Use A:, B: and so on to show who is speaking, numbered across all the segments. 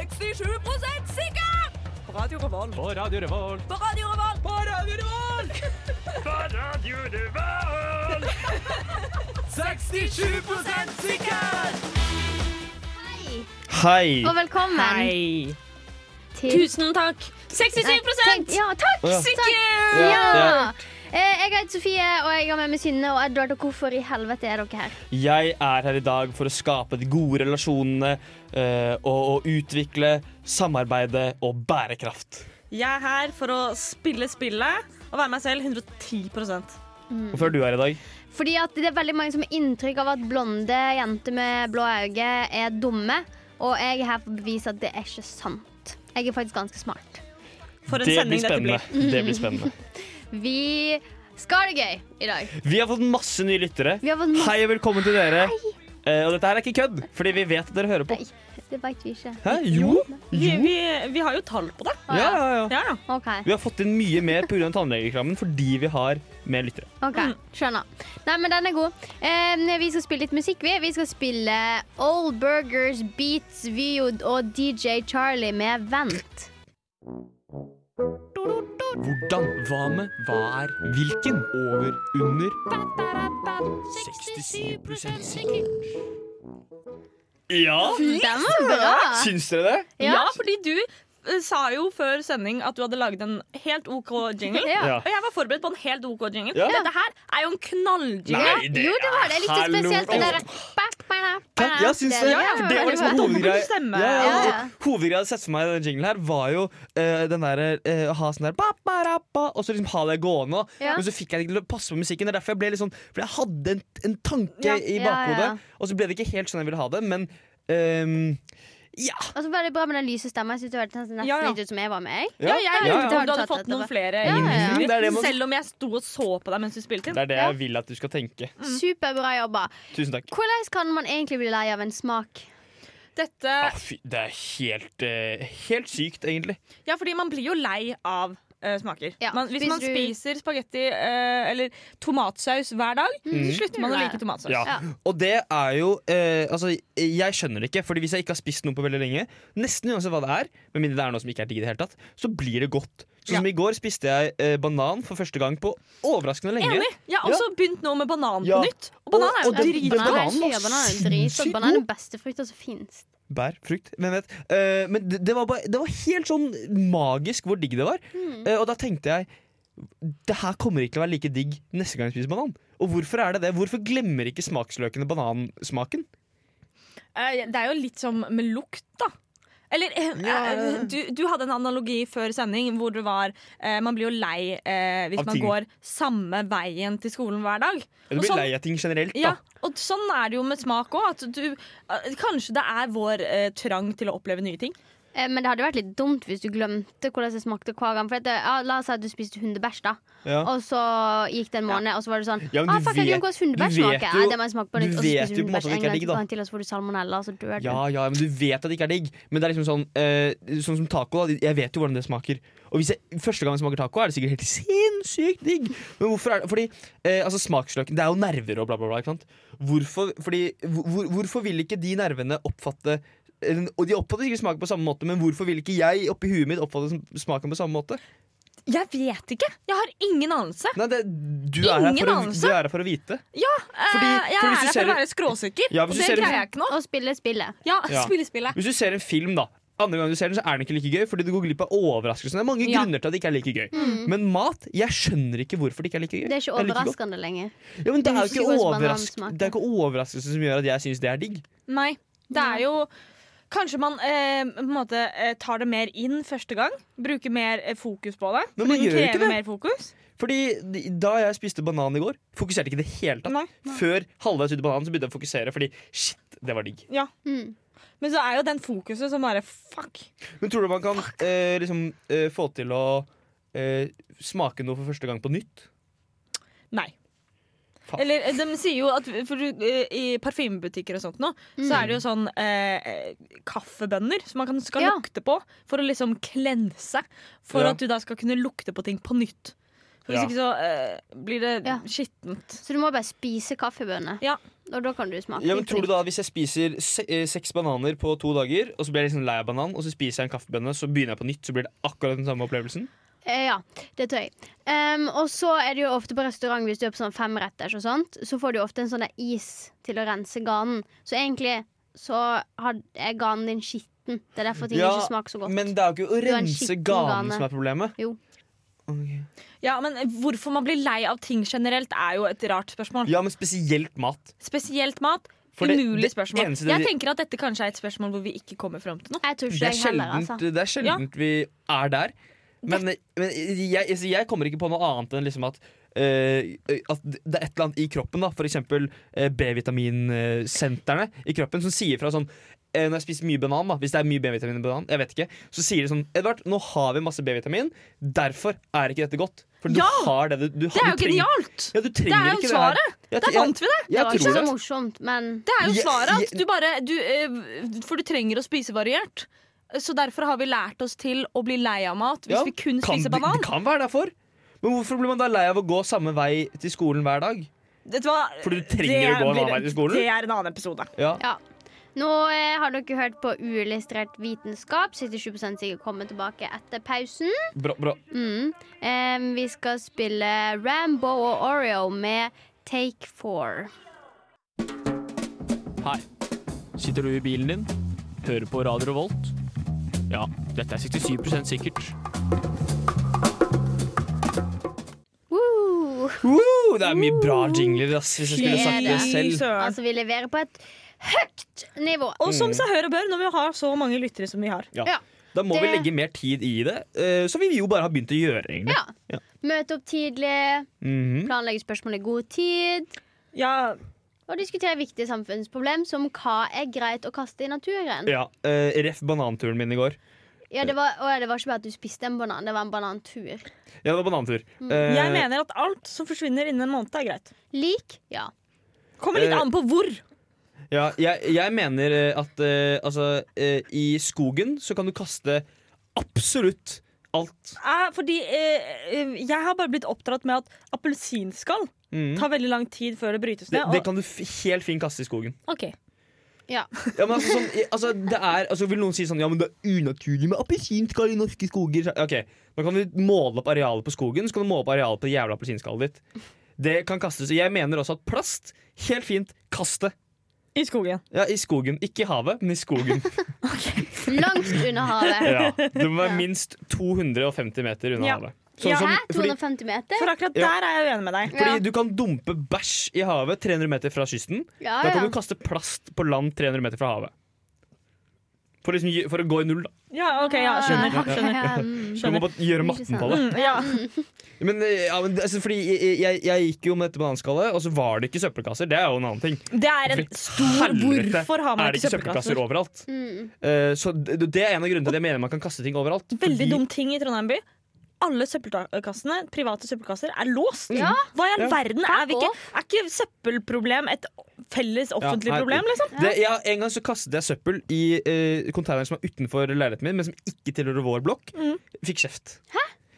A: 67 sikker! På Radio Revolt.
B: På Radio Revolt.
A: På Radio Revolt. På Radio Revolt!
B: 67 sikker!
C: Hei!
D: Og velkommen
A: Hei.
D: til
A: Tusen takk.
D: Nei,
A: 67
D: tenk- Ja, takk!
C: Å, ja.
A: sikker!
D: Ja.
C: Ja.
D: Eh, Jeg heter Sofie, og jeg har med meg Synne og Edvard. Og hvorfor i helvete er dere her?
C: Jeg er her i dag for å skape de gode relasjonene eh, og, og utvikle samarbeidet og bærekraft.
A: Jeg er her for å spille spillet og være meg selv 110
C: Hvorfor er du her i dag?
D: Fordi at det er veldig mange som har inntrykk av at blonde jenter med blå øyne er dumme. Og jeg er her for å bevise at det er ikke sant. Jeg er faktisk ganske smart.
A: For en
C: Det blir
A: sending dette
C: spennende.
A: blir.
C: Det blir spennende.
D: Vi skal ha det gøy i dag.
C: Vi har fått masse nye lyttere.
D: Vi har fått masse
C: Hei og velkommen til dere. Eh, og dette her er ikke kødd, fordi vi vet at dere hører på.
D: Nei, det veit vi ikke.
C: Hæ? Jo?
A: Vi,
C: Jo?
A: vi, vi har jo tall på det.
D: Å,
C: Ja, ja, ja.
A: Ja, ja.
D: OK.
C: Vi har fått inn mye mer pga. tannlegereklamen fordi vi har mer lyttere.
D: ok, Skjønner. Nei, men den er god. Eh, vi skal spille litt musikk, vi. Vi skal spille Old Burgers, Beats, Vio og DJ Charlie med Vent.
B: Hvordan? Hva med? Hva er? Hvilken? Over? Under? 67 sikker.
C: Ja,
D: Den var bra!
C: syns dere det?
A: Ja. fordi du eh, sa jo før sending at du hadde laget en helt OK jingle.
D: Ja.
C: Ja.
A: Og jeg var forberedt på en helt OK jingle.
C: Ja.
A: Dette her er jo en knalljingle.
C: Nei, det
D: jo, det var det. Jeg likte
C: hallo.
D: spesielt det derre
C: Hæ? Ja, syns du?
D: det?
C: Ja,
D: Ja,
C: for det var liksom
A: Dobbel
C: hovedgreia.
A: stemme.
C: Ja, ja,
D: Ja,
C: ja.
D: ja.
C: Hovedgreia jeg hadde sett for meg i den jinglen her, var jo eh, den derre eh, å ha sånn der ba, ba, ra, ba, Og så liksom ha det gående. og-
D: Ja.
C: Men så fikk jeg det ikke til å passe på musikken. Det er derfor jeg ble litt sånn For jeg hadde en, en tanke
A: Ja.
C: i
D: Ja,
C: bakhodet,
D: ja.
C: og så ble det ikke helt sånn jeg ville ha det, men ehm, ja.
D: Og så var det bra med den lyse stemmen. Jeg synes det hørtes nesten
A: Ja, ja.
D: litt ut som jeg var med. jeg.
A: Ja, jeg lurte
D: ja.
A: på om du
D: Har
A: hadde
D: du tatt
A: fått noen
D: etterpå?
A: flere
D: Ja, ja, ja.
C: Det er det
A: innspill.
C: man-
A: Selv om jeg sto og så på deg mens du spilte inn.
C: Det er det
D: Ja.
C: jeg vil at du skal tenke.
D: Superbra jobba.
C: Tusen takk.
D: Hvordan kan man egentlig bli lei av en smak?
A: Dette,
C: Ah, fy, det er helt, eh, helt sykt, egentlig.
A: ja, fordi man blir jo lei av eh, smaker.
D: Ja,
A: Man, hvis man
D: spiser du-
A: spiser spagetti eh, eller tomatsaus hver dag, så slutter man å like tomatsaus.
C: Ja.
D: Ja.
C: Og det er jo eh, Altså, jeg skjønner det ikke. Fordi hvis jeg ikke har spist noe på veldig lenge, nesten uansett hva det er, med mindre det er noe som ikke er digg i det hele tatt, så blir det godt. Sånn som i går spiste jeg eh, banan for første gang på overraskende lenge.
A: Enig. Jeg har også begynt nå med banan på
C: Ja.
A: nytt. Og banan er jo
C: Og- og det-
A: dritgodt.
D: Banan er
C: bananen var
D: skya, banan er dritgodt.
C: sinnssykt
D: Banan er
C: god.
D: den beste frukta som fins.
C: Bær, frukt, hvem vet. Eh, men det, det, var bare, det var helt sånn magisk hvor digg det var.
D: Hmm.
A: Mm.
C: Eh, og da tenkte jeg det her kommer ikke til å være like digg neste gang jeg spiser banan. Og hvorfor er det det? Hvorfor glemmer ikke smaksløkene banansmaken?
A: Eh, Det er jo litt som med lukt, da. Eller eh,
C: Ja, ja, ja.
A: Du, du hadde en analogi før sending hvor det var eh, Man blir jo lei eh, hvis
C: Av
A: man
C: ting.
A: går samme veien til skolen hver dag.
C: Du
A: Og
C: blir
A: sånn-
C: lei av ting generelt, da.
A: Ja, og sånn er det jo med smak òg. eh, Kanskje det er vår eh, trang til å oppleve nye ting.
D: Eh, Men det hadde vært litt dumt hvis du glemte hvordan det smakte hver gang. For at, eh, ja, la oss si at du spiste hundebæsj, da.
C: Ja.
D: Og så gikk det en måned, og så var det sånn
C: Ja, men
D: ah,
C: du
D: fuck, jeg
C: vet-
D: glemte hvordan
C: du
D: hundebæsj
C: vet
D: smaker.
C: jo-
D: Ja, det må jeg smake på
C: du
D: nytt. Og så
C: vet
D: spiser
C: jo
D: du
C: på en måte at
D: hundebæsj
C: det
D: en
C: ikke er
D: gang
C: digg,
D: til,
C: da.
D: gangen til, og så får du salmonella, og så dør du.
C: Ja, ja, men du vet at det ikke er digg. Men det er liksom sånn eh, Sånn som taco. da, Jeg vet jo hvordan det smaker. Og hvis jeg første gang jeg smaker taco, er det sikkert helt sinnssykt digg. Men hvorfor er det Fordi eh, altså smaksløken Det er jo nerver og bla, bla, bla. Ikke sant? Hvorfor, fordi, hvor, hvor- hvorfor vil ikke de nervene oppfatte eller, og De oppfatter ikke smaken på samme måte, men hvorfor vil ikke jeg oppi huet mitt oppfatte sm- smaken på samme måte?
A: Jeg vet ikke! Jeg har ingen anelse.
C: Nei, det, du, er her
A: Ingen
C: for å,
A: anelse.
C: du er her for å vite.
A: Eh,
C: Fordi-
A: jeg
C: for hvis du
A: er her for
C: ser-
A: å være skråsikker,
C: Ja,
A: og
C: hvis du
A: det
C: ser-
A: greier jeg ikke nå.
D: Og spille spillet.
A: Ja,
C: Ja.
A: Spillespillet.
C: Hvis du ser en film, da andre gang du ser den, så er den ikke like gøy, fordi du går glipp av overraskelsen. Det er mange
A: Ja.
C: grunner til at det ikke er like
A: Mm.
C: gøy. Men mat Jeg skjønner ikke hvorfor det ikke er like gøy.
D: Mm. Det er ikke
C: like godt.
D: overraskende lenger.
C: ja, men det, er jo
D: husker
C: ikke
D: hvordan
C: overrask
D: banansmaken.
C: det er ikke overraskelse som gjør at jeg syns det er digg.
A: Nei. Det er jo Kanskje man eh, på en måte, eh, tar det mer inn første gang. Bruker mer eh, fokus på det.
C: Men man
A: fordi den
C: gjør jo ikke
A: krever
C: det.
A: Mer fokus.
C: Fordi de- da jeg spiste banan i går, fokuserte jeg ikke i det hele tatt.
A: Nei.
C: Før halvveis ut i bananen så begynte jeg å fokusere, fordi shit, det var digg.
D: Mm.
A: Men så er jo den fokuset som bare fuck.
C: Men tror du man kan eh, liksom, eh, få til å eh, smake noe for første gang på nytt?
A: Nei.
C: Faen.
A: Eller eh, de sier jo at for, du, eh, I parfymebutikker og sånt nå,
C: Mm.
A: så er det jo sånn eh, eh, kaffebønner som man kan, skal
D: Ja.
A: lukte på for å liksom klense. For
C: Ja.
A: at du da skal kunne lukte på ting på nytt. For Hvis
C: Ja.
A: ikke så eh, blir det
D: Ja.
A: skittent.
D: Så du må bare spise kaffebønner.
A: Ja.
D: og da kan du smake.
C: Ja, men tror du da at Hvis jeg spiser se eh, seks bananer på to dager, og så blir jeg liksom lei av banan, og så spiser jeg en kaffebønne, så begynner jeg på nytt, så blir det akkurat den samme opplevelsen?
D: Eh, ja, det tror jeg. Em, og så er det jo ofte på restaurant, hvis du er på sånn femretters og sånt, så får du ofte en sånn der is til å rense ganen. Så egentlig så har, er ganen din skitten. Det er derfor ting
C: Ja,
D: ikke smaker så godt.
C: Men det er jo ikke å
D: Du er en
C: rense
D: skitten
C: ganen
D: gane.
C: som er problemet.
D: Jo.
C: Ok.
A: Ja, men Hvorfor man blir lei av ting generelt, er jo et rart spørsmål.
C: Ja, men spesielt mat.
A: Spesielt mat.
C: For det-
A: Umulig
C: det
A: spørsmål.
C: eneste det-
A: Jeg tenker at dette kanskje er et spørsmål hvor vi ikke kommer fram til noe.
D: Jeg tror ikke
C: Det er
D: jeg heller,
C: sjeldent,
D: altså.
C: det er sjeldent vi er der. Men, men jeg, altså, jeg kommer ikke på noe annet enn liksom at eh, at det er et eller annet i kroppen, da f.eks. Uh, B-vitaminsentrene i kroppen, som sier fra sånn eh, Når jeg spiser mye banan, da hvis det er mye B-vitamin i banan, jeg vet ikke så sier de sånn Edvard, nå har vi masse B-vitamin, derfor er ikke dette godt. For
A: Ja!
C: du har det du, du
A: Det er
C: du
A: jo
C: trenger-
A: genialt!
C: Ja, du
A: Det er
C: trenger ikke
A: jo
C: det her.
A: svaret!
C: Jeg-
A: Der
C: jeg-
A: fant vi det!
D: Det
C: jeg
D: var ikke
C: tror
D: så
C: det.
D: morsomt, men
A: Det er jo
C: Jeg-
A: svaret at
C: jeg-
A: du bare du, eh, For du trenger å spise variert. Så derfor har vi lært oss til å bli lei av mat hvis
C: Ja,
A: vi kun
C: Kan,
A: spiser
C: det,
A: banan.
C: det kan være derfor. Men hvorfor blir man da lei av å gå samme vei til skolen hver dag?
A: Vet du hva?
C: Fordi du trenger å gå en annen vei til skolen?
A: Det er en annen episode.
C: Ja.
D: ja. Nå eh, har dere hørt på uillustrert vitenskap. 77 sikkert kommer tilbake etter pausen.
C: Bra, bra.
D: Mm. Em, vi skal spille Rambo og Oreo med Take Four.
B: Hei. Sitter du i bilen din? Hører på Radio Revolt? Ja, dette er 67 sikkert.
D: Woo!
C: Woo, det er mye bra jingler, ass, hvis jeg skulle
D: Det er
C: sagt det
D: det.
C: selv.
A: Søren.
D: Altså, vi leverer på et høyt nivå.
A: Og som
C: Mm.
A: seg hør og bør, når vi har så mange lyttere som vi har.
D: Ja.
C: Da må vi
D: Det-
C: legge mer tid i det, eh, som vi jo bare har begynt å gjøre, egentlig.
D: Ja. Møte opp tidlig,
C: Mhm.
D: planlegge spørsmål i god tid.
A: Ja,
C: Eh.
D: Og diskutere viktige samfunnsproblem som hva er greit å kaste i naturen.
C: ja eh, Ref bananturen min i går.
D: Ja, det var, og det var ikke bare at du spiste en banan, det var en banantur.
C: Ja, det var banantur. Eh,
A: jeg mener at alt som forsvinner innen en måned, er greit.
D: Lik? Ja.
A: Kommer litt
C: Eh,
A: an på hvor.
C: ja, jeg, jeg mener eh, at eh, altså, eh, i skogen så kan du kaste absolutt alt.
A: Eh, fordi eh, eh, jeg har bare blitt oppdratt med at appelsinskall
C: Mhm.
A: tar veldig lang tid før det brytes
C: Det,
A: ned.
C: det kan du f helt fint kaste i skogen.
A: og, ok.
C: Ja, men altså, sånn, i- altså, det er, altså, vil noen si sånn Ja, men det er unaturlig med appelsinskall i norske skoger. Så- Ok, Nå kan du måle opp arealet på skogen, så kan du måle opp arealet på det jævla appelsinskallet ditt. Det kan kastes. Jeg mener også at plast Helt fint, kast det.
A: I skogen.
C: Ja, I skogen. Ikke i havet, men i skogen.
D: Langt under havet.
C: Ja, Det må være minst 250 meter unna
A: Ja.
C: havet. Sånn
A: Ja.
D: Hæ?
C: fordi,
D: 250 meter?
A: For akkurat
C: Ja.
A: der er jeg uenig med deg.
D: Ja.
C: fordi du kan dumpe bæsj i havet 300 meter fra kysten.
D: Ja,
A: Ah,
C: Da kan
D: ja.
C: du kaste plast på land 300 meter fra havet. For, liksom, gi- for å gå i null, da.
A: Ja, ok, ja, skjønner. skjønner.
D: Ja, mm.
C: Du må bare gjøre
D: Ikke
C: matten på
D: sant.
C: det.
A: Ah. Mm, ja.
C: Men, eh, ja, men altså, fordi jeg, jeg, jeg gikk jo med dette bananskallet, og så var det ikke søppelkasser. Det er jo en annen ting.
A: Det er en
C: For
A: stor
C: helvete,
A: Hvorfor har man
C: er det ikke søppelkasser overalt?
D: Mm.
C: Eh, så det, det er en av grunnene til at jeg mener man kan kaste ting overalt.
A: Veldig
C: fordi-
A: dum ting i Trondheim by. Alle søppelkassene, private søppelkasser er låst.
D: Ja.
A: Hva i all
C: Ja.
A: verden er, vi
D: Hva
A: ikke, er ikke søppelproblem et felles offentlig
C: nei,
A: problem, liksom?
C: Det, ja, en gang så kastet jeg søppel i eh, containeren som er utenfor leiligheten min, men som ikke tilhører vår blokk.
A: Mhm.
C: Fikk kjeft.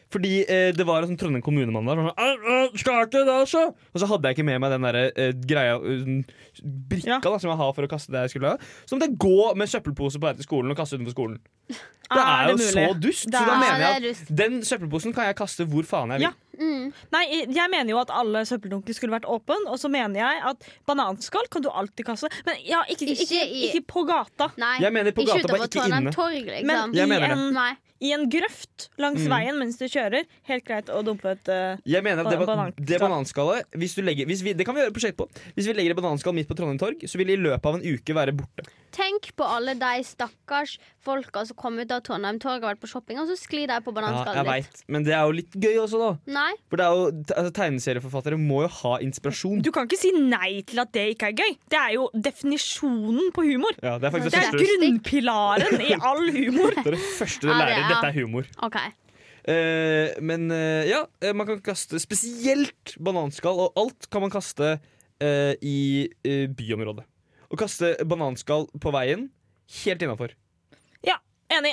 C: Fordi eh, det var en sånn Trondheim kommunemann der. som var Sånn, «Æ, æ, skal ikke det, altså? Og så hadde jeg ikke med meg den der, eh, greia eh, den brikka
A: Ja.
C: da, som jeg har for å kaste det jeg skulle ha. Så måtte jeg gå med søppelpose på vei til skolen og kaste utenfor skolen. Det er, jo så dust.
A: Ah, Det
C: Så da
A: er-
C: mener
D: Ja,
C: jeg
D: det er
C: at den søppelposen kan jeg kaste hvor faen jeg vil.
A: Ja.
D: Mm.
A: Nei, jeg mener jo at alle søppeldunker skulle vært åpen, og så mener jeg at bananskall kan du alltid kaste. Men ja, ikke,
D: Ikke
A: ikke, ikke,
D: i-
A: på gata.
D: Nei,
C: Jeg mener på
D: ikke
C: gata, bare ikke
D: utover Trondheim
C: inne.
D: torg, liksom.
A: Men
C: Jeg
A: i
C: mener det. Mm.
A: en,
D: Nei.
A: i en grøft langs veien mens du kjører, helt greit å dumpe et eh,
C: Jeg mener at det,
A: Ba-
C: ba-
A: bananskall.
C: det bananskallet hvis du legger, hvis vi, Det kan vi gjøre et prosjekt på. Hvis vi legger et bananskall midt på Trondheim Torg, så vil det i løpet av en uke være borte.
D: Tenk på alle de stakkars folka som kom ut av Trondheim torg og vært på shopping, og så sklir de
C: Ja,
D: på
C: jeg
D: bananskallet ditt.
C: vet. Men det er jo litt gøy også, da.
D: Nei.
C: For det er jo, te- altså, Tegneserieforfattere må jo ha inspirasjon.
A: Du kan ikke si nei til at det ikke er gøy. Det er jo definisjonen på humor.
C: Ja, det er faktisk
A: Det
C: det,
A: er
C: første,
A: grunnpilaren i all humor.
C: det, er det første du
D: Ja, det
C: lærer.
D: er-
C: Dette er humor.
D: OK.
C: Eh, men eh, ja, eh, man kan kaste spesielt bananskall, og alt kan man kaste eh, i eh, byområdet. Å kaste bananskall på veien, helt innafor.
A: Enig.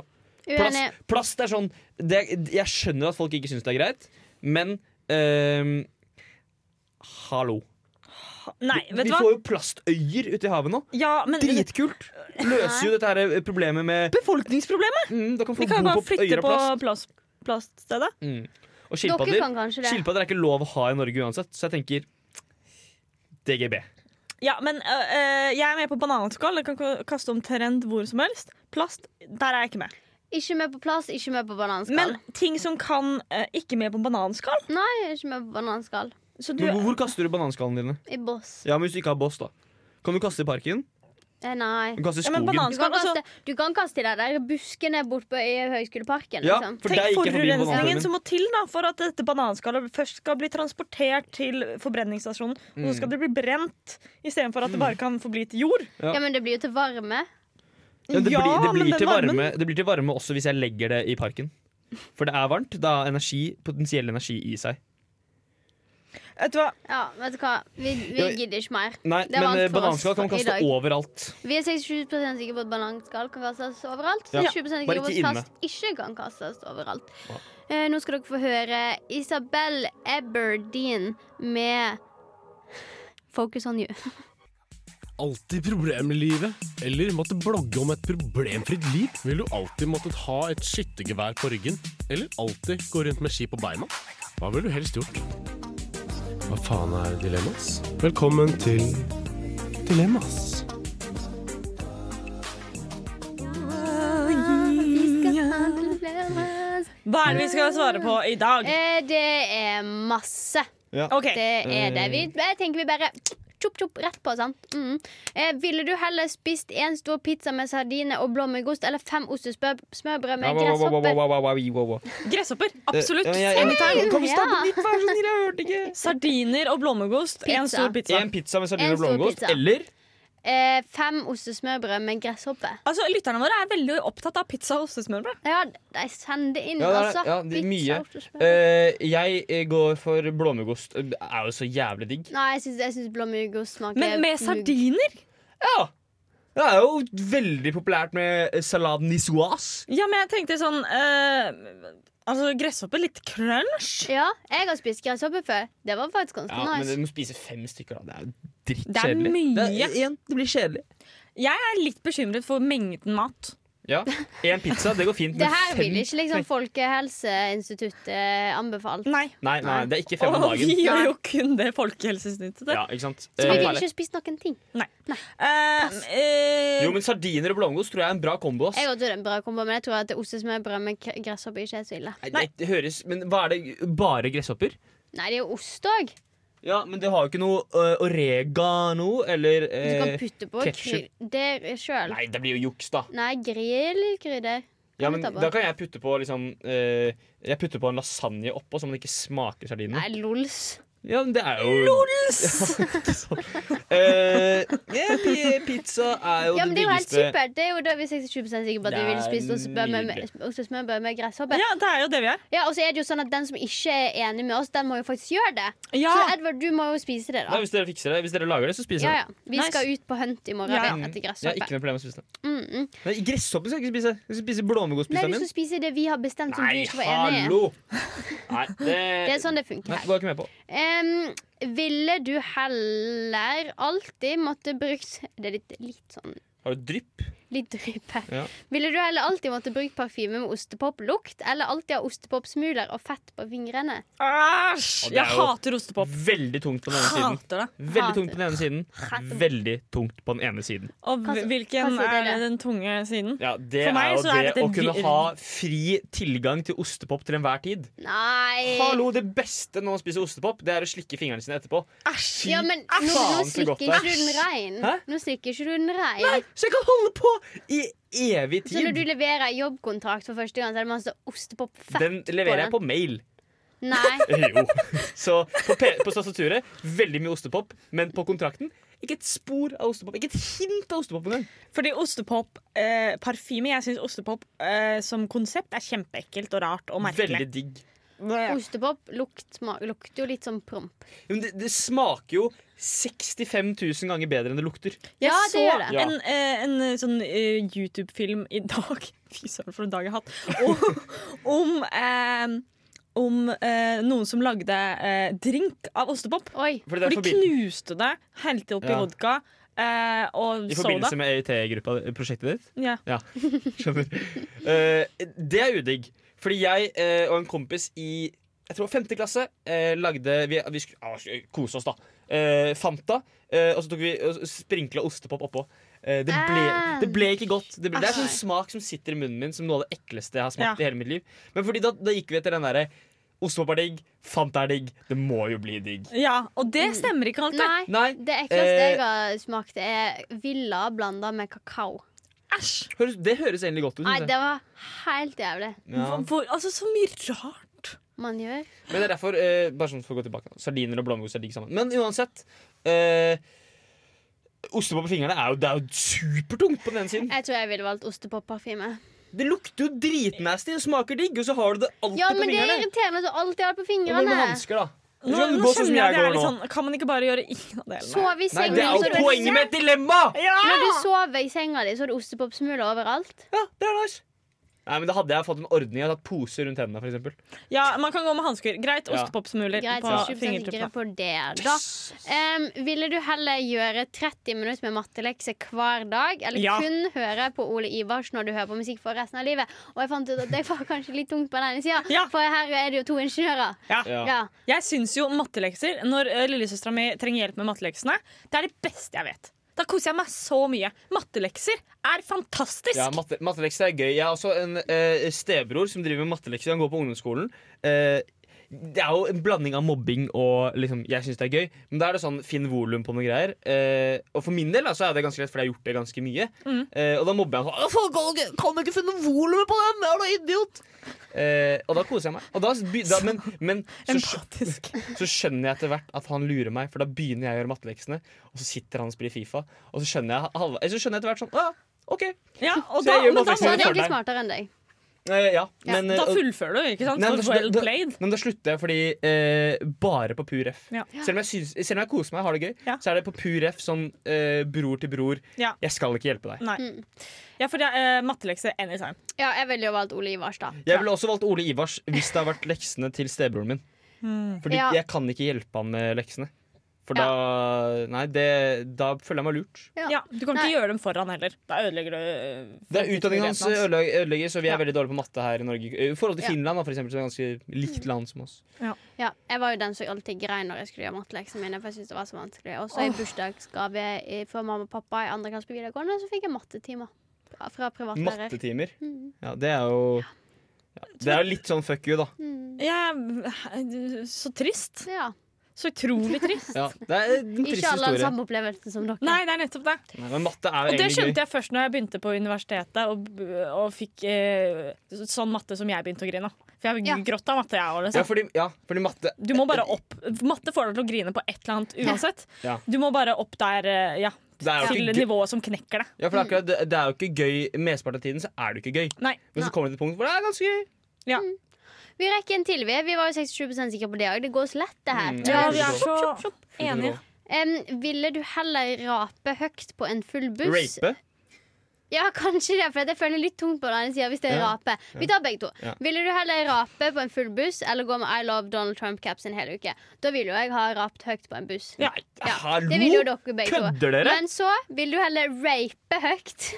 D: Uenig.
C: Plast, plast er sånn det, Jeg skjønner at folk ikke syns det er greit, men ehm, Hallo.
A: Nei, vet
C: vi
A: du hva?
C: får jo plastøyer ute i havet nå.
A: Ja, men
C: Dritkult! Løser jo dette her eh, problemet med
A: Befolkningsproblemet!
C: mm, Da kan
A: Vi
C: folk
A: kan jo
C: bo
A: bare
C: på øyer
A: flytte
C: av
A: på
C: plast.
A: plast, plaststedet.
C: Mm. Og
D: Dere
C: skilpadder
D: kan kanskje det.
C: Skilpadder er ikke lov å ha i Norge uansett, så jeg tenker DGB.
A: Ja, men øh, øh, jeg er med på bananskall. Jeg kan k- kaste omtrent hvor som helst. Plast, der er jeg ikke med.
D: Ikke med på plass, ikke med på bananskall.
A: Men ting som kan øh, ikke med på bananskall
D: Nei, ikke med på bananskall.
A: Så du,
C: Men hvor, hvor kaster du bananskallene dine?
D: I boss.
C: Ja, men Hvis du ikke har boss, da. Kan du kaste i parken?
D: Eh, nei.
C: Du kan kaste i
A: Ja, men
C: skogen.
D: Du
A: banan-
D: kan,
A: Bananskall, altså-
D: kaste, du kan kaste i de der buskene bort på i Høgskoleparken.
C: Ja,
D: Liksom.
C: for der gikk
A: tenk
C: jeg forbi
A: forurensningen
C: bananformen.
A: som må til da, for at dette bananskallet først skal bli transportert til forbrenningsstasjonen. Og så skal
C: Mm.
A: det bli brent, istedenfor at det bare kan forbli til jord.
D: Ja, men det blir jo til varme.
C: Ja, det,
A: Ja,
C: blir, det,
A: men
C: blir
A: den
C: til
A: varmen-
C: varme, det blir til varme også hvis jeg legger det i parken. For det er varmt. Da har energi, potensiell energi i seg.
A: Vet du hva?
D: Ja, vet du hva? Vi, vi
C: Ja,
D: gidder ikke mer.
C: Nei,
D: Det er
C: men
D: varmt
C: eh,
D: for oss
C: bananskall kan man
D: i
C: kaste
D: dag.
C: overalt.
D: Vi er 67 sikre på at bananskall kan kastes overalt.
C: Ja.
D: 20 sikre
C: Bare
D: på at
C: ikke
D: plast ikke kan kastes overalt. Eh, nå skal dere få høre Isabel Eberdeen med Focus on you.
E: alltid problemer i livet, eller måtte blogge om et problemfritt liv? Vil du alltid måttet ha et skyttergevær på ryggen, eller alltid gå rundt med ski på beina? Hva ville du helst gjort? Hva faen er dilemmas? Velkommen til Dilemmas.
D: Eh,
A: Hva er det vi skal svare på i dag?
D: det er masse.
A: OK.
D: Det er det. Vi, jeg tenker vi bare Tjopp, tjopp, rett på, sant? Mm. Eh, ville du heller spist én stor pizza med sardiner og blåmuggost eller fem ostesmørbrød med
C: Ja, wow, wow, wow, wow, wow, wow,
D: gresshopper?
C: wow, wow.
A: Gresshopper. Absolutt.
C: Eh, jeg- jeg-
A: Anytime.
C: Kan vi
D: Ja.
C: starte på nytt, vær så snill? Jeg hørte ikke.
A: Sardiner og blåmuggost. En
D: Pizza.
A: stor pizza.
C: En pizza med sardiner
D: En
C: og
D: stor
C: blåmuggost.
D: pizza.
C: Eller
D: Eh, fem ostesmørbrød med gresshoppe.
A: Altså, Lytterne våre er veldig opptatt av pizza og ostesmørbrød.
D: Ja, de sender inn,
C: Ja, det er-
D: altså.
C: ja, det er
D: Pizza,
C: mye.
D: ostesmørbrød.
C: eh, Jeg eh, går for blåmuggost. Det er jo så jævlig digg.
D: Nei, jeg syns, jeg syns blåmuggost smaker
A: Men
D: mugg.
A: med sardiner?
C: Ja. Det er jo veldig populært med eh, salat nisoise.
A: Ja, men jeg tenkte sånn eh, Altså, gresshopper litt crunch.
D: Ja, jeg har spist gresshoppe før. Det var faktisk ganske
C: Ja, men
D: nice.
C: du må spise fem stykker, da. Det er jo
A: Det er
C: drittkjedelig.
A: mye.
C: er- igjen, det blir kjedelig.
A: Jeg er litt bekymret for mengden mat.
C: Ja, Én pizza, det går fint.
D: Det
C: men
D: her
C: fem-
D: vil ikke liksom Folkehelseinstituttet eh,
C: Mm.
D: anbefalt.
A: Nei.
C: Nei, nei, det er ikke fem om
A: Og vi
C: dagen.
A: gjør jo kun det folkehelsesnittet.
C: Ja, ikke sant?
D: Så vi
C: Eh,
D: vil ikke spise noen ting.
A: Eh, eh,
C: jo, men Sardiner og blåmuggost tror jeg er en bra kombo. ass.
D: Jeg tror det er en bra kombo, men jeg tror at ostesmørbrød med k- gresshoppe ikke er så ille.
C: Nei, det- det høres, men hva er det? Bare gresshopper?
D: Nei, det er jo ost òg.
C: Ja, men det har jo ikke noe eh, oregano eller
D: Du kan
C: eh,
D: putte på
C: ketchup.
D: krydder sjøl.
C: Nei, Mm. det blir jo juks, da.
D: Nei, grillkrydder.
C: Ja, men
D: Kan du ta på?
C: Da kan jeg putte på liksom eh, Jeg putter på en lasagne oppå, så man ikke smaker sardinene.
D: Nei, lols.
C: Ja, men det er jo Eh, ja, pi- pizza er jo
D: Ja, men Det er jo helt
C: billigste
D: supert. Det er jo da vi er 26 sikre på at
C: Det
D: vi vil
C: er
D: spise ostesmørbrød med,
C: nydelig.
D: ostesmørbrød med gresshoppe.
A: ja, det er jo det vi er.
D: Ja, og så er det jo sånn at Den som ikke er enig med oss, den må jo faktisk gjøre det.
A: Ja.
D: Så Edvard, du må jo spise det.
C: Nei,
D: da
C: hvis dere fikser det, hvis dere lager det, så spiser
D: ja,
C: jeg det.
D: ja. Vi
A: Nice.
D: skal ut på hunt i morgen
A: Ja, ja.
D: vi, etter
C: Jeg har
D: gresshoppe.
C: ikke noe problem med å spise det.
D: Mm -mm.
C: Nei, Gresshoppen skal jeg ikke spise. Jeg skal spise
D: Nei, du
C: blåmuggost-pizzaen
D: skal
C: min.
D: spise det vi har bestemt som du
C: Nei,
D: ikke var enig i.
C: hallo! Nei, det,
D: Det er sånn det funker
C: Nei,
D: her.
C: går jeg ikke med på.
D: Em, ville du heller alltid måtte brukt Det er litt, litt sånn
C: Har du drypp?
D: Litt drypp her.
C: Ja.
D: Ville du heller alltid måtte brukt parfyme med ostepoplukt, eller alltid ha ostepopsmuler og fett på fingrene?
A: Æsj!
C: Og det er
A: Jeg
C: jo-
A: hater ostepop.
C: Veldig tungt på den ene siden.
A: Hater det.
C: Veldig tungt på den ene siden.
D: Hater.
C: Veldig tungt på den ene siden.
A: Og
D: Hva si-
A: hvilken
D: hva sier
A: er
D: dere?
A: den tunge siden?
C: Ja, det
A: For meg
C: er jo
A: så er
C: det
A: dette
C: å kunne
A: vir-
C: ha fri tilgang til ostepop til enhver tid.
D: Nei
C: Hallo, det beste når man spiser ostepop, det er å slikke fingrene sine etterpå.
A: Æsj!
D: Ja, men nå, nå
C: faen, så
D: slikker
C: godt det
D: ikke du
C: er.
D: den rein.
C: Hæ?
D: Nå slikker ikke du den rein.
C: Så jeg kan holde på i evig
D: Så
C: tid.
D: når du leverer jobbkontrakt for første gang, så er det masse ostepopfett
C: Den leverer jeg på mail. Eh,
D: Nei.
C: Jo. Så på, P- på staturet, veldig mye ostepop, men på kontrakten ikke et spor av ostepop. Ikke et hint av ostepop engang.
A: Fordi ostepop, eh, parfyme Jeg syns ostepop eh, som konsept er kjempeekkelt og rart og merkelig.
C: Veldig digg.
A: Ja.
D: Ostepop lukt, sma- lukter jo litt sånn promp.
C: Jo, Men det, det smaker jo 65 000 ganger bedre enn det lukter.
A: Jeg
D: Ja, det
A: så
D: gjør det.
C: Ja.
A: en, eh, en eh, sånn eh, YouTube-film i dag Fy søren, for en dag jeg har hatt! Om, om eh, om eh, noen som lagde eh, drink av ostepop.
D: Oi.
C: Fordi det
A: For
C: er
A: de
C: forbi
A: knuste det, helte oppi
C: Ja.
A: vodka eh, og
C: i
A: soda.
C: forbindelse med EIT-prosjektet ditt.
A: Ja.
C: Skjønner. Eh, det er udigg. Fordi jeg eh, og en kompis i jeg tror femte klasse eh, lagde Vi, vi skulle ah, skulle kose oss, da. Eh, Fanta. eh, og så tok vi og sprinkla ostepop oppå. Eh, det, ble,
D: Ah.
C: det ble ikke godt. Det, ble, det er sånn
D: Ah.
C: smak som sitter i munnen min som noe av det ekleste jeg har smakt
A: Ja.
C: i hele mitt liv. Men fordi da, da gikk vi etter den derre Ostepop er digg, Fanta er digg. Det må jo bli digg.
A: ja, og det
D: Mm.
A: stemmer ikke alltid.
D: Nei.
C: Nei,
D: Det ekleste
C: eh,
D: jeg har smakt, er Villa blanda med kakao.
A: Æsj!
C: høres, det høres egentlig godt ut.
D: Nei,
C: synes jeg.
D: det var helt jævlig.
C: Ja.
A: Hvor, altså, så mye rart.
D: Man gjør
C: Men det er derfor eh, Bare sånn for å gå tilbake nå, Sardiner og blåmuggost er digg sammen. Men uansett eh, Ostepop på fingrene er jo, det er jo supertungt på den ene siden.
D: Jeg tror jeg ville valgt ostepopparfyme.
C: Det lukter jo dritnasty og smaker digg, og så har du det alltid
D: Ja,
C: på
D: men det er
C: fingrene.
D: irriterende at du alltid har det på
C: Og med
D: fingrene.
C: hansker, da.
A: Nå,
C: Ellers kan du
A: nå
C: gå sånn som
A: skjønner jeg
C: jeg
A: det er
C: går
A: litt
C: nå.
A: sånn Kan man ikke bare gjøre ingen av delene?
D: Sove i
C: Nei,
D: senga
C: det er
D: så
C: jo
D: du-
C: poenget med et dilemma!
A: Ja!
D: Når du sover i senga di, så har du ostepopsmuler overalt.
C: Ja, det er nice. Nei, men Da hadde jeg fått en ordning. Jeg hadde hatt poser rundt hendene. For eksempel.
A: ja, man kan gå med hansker. Greit,
C: Ja.
A: ostepopsmuler
D: Greit,
A: på
D: så 20% sikre
A: fingertuppene.
D: på det, da. Em, ville du heller gjøre 30 minutter med mattelekse hver dag, eller
A: Ja.
D: kun høre på Ole Ivars når du hører på musikk for resten av livet? Og jeg fant ut at det var kanskje litt tungt på den ene sida,
A: Ja.
D: for her er det jo to ingeniører.
C: Ja.
D: Ja.
A: Jeg syns jo mattelekser Når eh, lillesøstera mi trenger hjelp med matteleksene, det er det beste jeg vet. Da koser jeg meg så mye. Mattelekser er fantastisk!
C: Ja, matte, Mattelekser er gøy. Jeg har også en eh, stebror som driver med mattelekser. Han går på ungdomsskolen. Eh, det er jo en blanding av mobbing og liksom, jeg syns det er gøy, men da er det sånn finn volum på noen greier. Eh, og for min del da, så er det ganske lett, for jeg har gjort det ganske mye. Eh, og da mobber jeg han sånn. «Å, Folk, kan du ikke finne volumet på den? Er du idiot? Eh, og da koser jeg meg. Og da, by- da, men men så, skj-
A: Empatisk.
C: så skjønner jeg etter hvert at han lurer meg, for da begynner jeg å gjøre matteleksene. Og så sitter han og spiller Fifa, og så skjønner jeg, halv- så skjønner jeg etter hvert sånn ah, OK.
A: Ja, og
C: Så
A: da,
C: jeg gjør
D: Så
A: men da,
C: mattelekser.
A: må
D: han er
A: du,
D: egentlig smartere enn deg.
C: Eh, ja,
D: Ja,
C: men
A: da
C: eh, og-
A: fullfører du, ikke sant?
C: Nei, men
A: For
C: da-
A: well
C: da-
A: played.
C: Men da slutter jeg fordi eh, bare på pur F.
A: Ja.
C: Selv, om jeg syns- selv om jeg koser meg og har det gøy,
A: Ja.
C: så er det på pur F sånn eh, bror til bror.
A: Ja.
C: Jeg skal ikke hjelpe deg.
A: Nei. Ja, for det er eh, mattelekser anytime.
D: Ja, jeg ville jo valgt Ole Ivars, da.
C: Jeg ville også valgt Ole Ivars hvis det har vært leksene til stebroren min.
A: Hmm.
C: Fordi
D: Ja.
C: jeg kan ikke hjelpe han med leksene. For da Nei, det, da føler jeg meg lurt.
D: Ja.
A: Ja, Du kan
D: Nei.
A: ikke gjøre dem foran heller. Da ødelegger du eh,
C: Det er Utdanningen hans
A: fremtidsmuligheten
C: ødelegger, ødelegger, så vi er
A: Ja.
C: veldig dårlige på matte her i Norge. I forhold til
D: Ja.
C: Finland, da, for eksempel, som er ganske
A: Mm.
C: likt land som oss.
D: Ja, jeg var jo den som alltid grein når jeg skulle gjøre matteleksene mine. For jeg syntes det var så vanskelig Og så i bursdagsgave i- for mamma og pappa i andre klasse på videregående, så fikk jeg mattetimer. Fra- Fra privatlærer.
C: Mattetimer.
D: Mm.
C: Ja, det er jo ja, Det er jo litt sånn fuck you, da.
D: Mm.
A: Jeg er eh, så trist.
D: Ja.
A: Så utrolig trist.
C: Ja, det er en trist
D: Ikke alle har den
C: historie.
D: samme opplevelsen som dere.
A: Nei, det er nettopp det.
C: Nei, men matte er jo
A: Og det
C: egentlig gøy.
A: skjønte jeg først når jeg begynte på universitetet og, og fikk eh, sånn matte som jeg begynte å grine av. For jeg
D: Ja.
A: gråt av matte, jeg òg.
C: Ja
A: Liksom.
C: fordi, ja, fordi matte
A: Du må bare opp Matte får deg til å grine på et eller annet uansett.
C: Ja.
A: Du må bare opp der, eh, ja.
C: det er jo
A: Til
C: ikke gøy,
A: nivået som knekker deg.
C: ja, for det, er akkurat, det, det er jo ikke gøy Mesteparten av tiden så er det jo ikke gøy.
A: Nei.
C: Men
D: Nei.
C: så kommer det til et punkt hvor det er ganske gøy.
D: Vi rekker en til, vi. Vi var jo 67 sikre på det òg. Det går så lett, det her.
C: Mm.
A: Ja,
C: Ja,
A: vi er så
D: Sjopp, sjopp, sjopp.
A: enige.
D: Em, ville du heller rape høyt på en full buss?
C: Rape?
D: Ja, kanskje det, for jeg føler litt tungt på den ene sida hvis det er
C: Ja.
D: rape. Vi tar begge to.
C: Ja.
D: Ville du heller rape på en full buss eller gå med I love Donald Trump-caps en hel uke? Da ville jo jeg ha rapt høyt på en buss.
A: Ja.
D: Ja,
C: Hallo!
D: Det ville jo dere begge to.
C: Kødder dere?
D: Men så vil du heller rape høyt.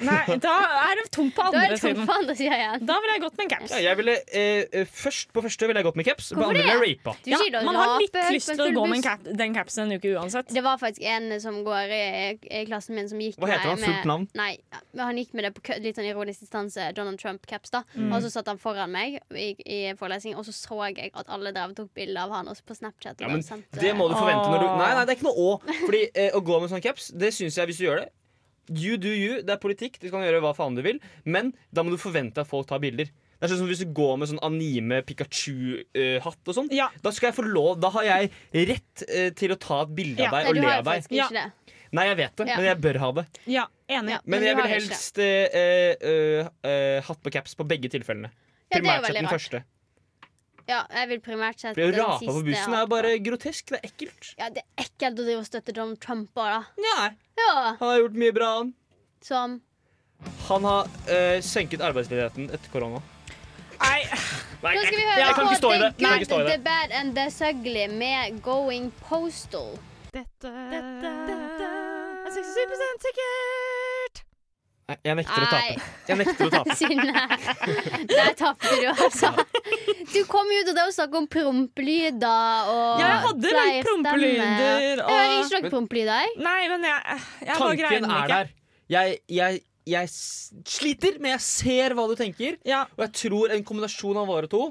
A: Nei, da er det tungt på
D: Da er
A: andre
D: det tungt
A: siden.
D: på andre sida igjen.
A: Da ville jeg gått med en caps.
C: Ja, jeg ville, eh, eh, først, på første ville jeg gått med caps, på
D: Hvorfor
C: andre ville jeg rapa.
D: Du sier da
A: man har
D: rape
A: litt
D: høyt
A: lyst
D: på en
A: til å gå
D: full
A: med en
D: buss.
A: cap, den capsen en uke uansett.
D: Det var faktisk en som går i, i klassen min som gikk
C: Hva heter
D: meg
C: han? Fullt
D: med-
C: navn?
D: Nei, ja, men han gikk med det på kø- litt sånn ironisk distanse, Donald Trump-caps, da. Og så satt han foran meg i, i forelesning, og så så jeg at alle drev og tok bilde av han også på Snapchat.
C: Ja,
D: og
C: men
D: sendte-
C: det må du forvente når du
A: Åh.
C: Nei, nei, det er ikke noe å. Fordi eh, å gå med sånn caps, det syns jeg hvis du gjør det You do you. Det er politikk. Du kan gjøre hva faen du vil. Men da må du forvente at folk tar bilder. Det er sånn som Hvis du går med sånn anime Pikachu-hatt og sånn,
A: Ja.
C: da skal jeg få lov Da har jeg rett eh, til å ta et bilde
A: Ja.
C: av deg
D: Nei,
C: og
D: du
C: le
D: har
C: av deg.
D: faktisk ikke det.
C: Nei, jeg vet det,
D: Ja.
C: men jeg bør ha det.
A: Ja, enig.
D: Ja. Men
C: Men
D: du
C: jeg
D: har
C: vil
D: det ikke.
C: helst eh, eh, eh, eh, hatt på caps på begge tilfellene.
D: Ja, det er jo
C: Primært sett
D: veldig
C: den
D: rart.
C: første.
D: Ja, jeg vil primært sett
C: For å
D: den
C: rape på bussen
D: siste jeg
C: er
D: har
C: jo bare grotesk. Det er ekkelt.
D: Ja, det er ekkelt å drive og støtte Donald Trump bare, da.
C: Nei, han
D: Ja,
C: har gjort mye bra, han.
D: som
C: Han har eh, senket arbeidsledigheten etter korona.
A: Nei,
B: Nei,
D: Nå
B: jeg,
D: skal vi
B: jeg
D: høre
B: kan
D: på
B: ikke stå i det. Jeg kan ikke
D: Big
B: stå i
D: Bad,
B: det.
D: The Bad and The Sugly med Going Postal.
A: er 67 sikkert!
C: Nei, Jeg nekter å
D: Nei,
C: tape. Jeg nekter å tape.
D: Synne. Der tapte du, altså. Du kom jo til det å snakke om prompelyder og
A: Jeg hadde vel
D: flere
A: prompelyder
D: stemmer.
A: og-
D: Jeg hører ikke noen prompelyder.
A: Nei, men jeg, jeg bare greier
C: Tanken
A: den
C: er
A: ikke.
C: der. Jeg, jeg, jeg s- sliter, men jeg ser hva du tenker.
A: Ja.
C: Og jeg tror en kombinasjon av våre to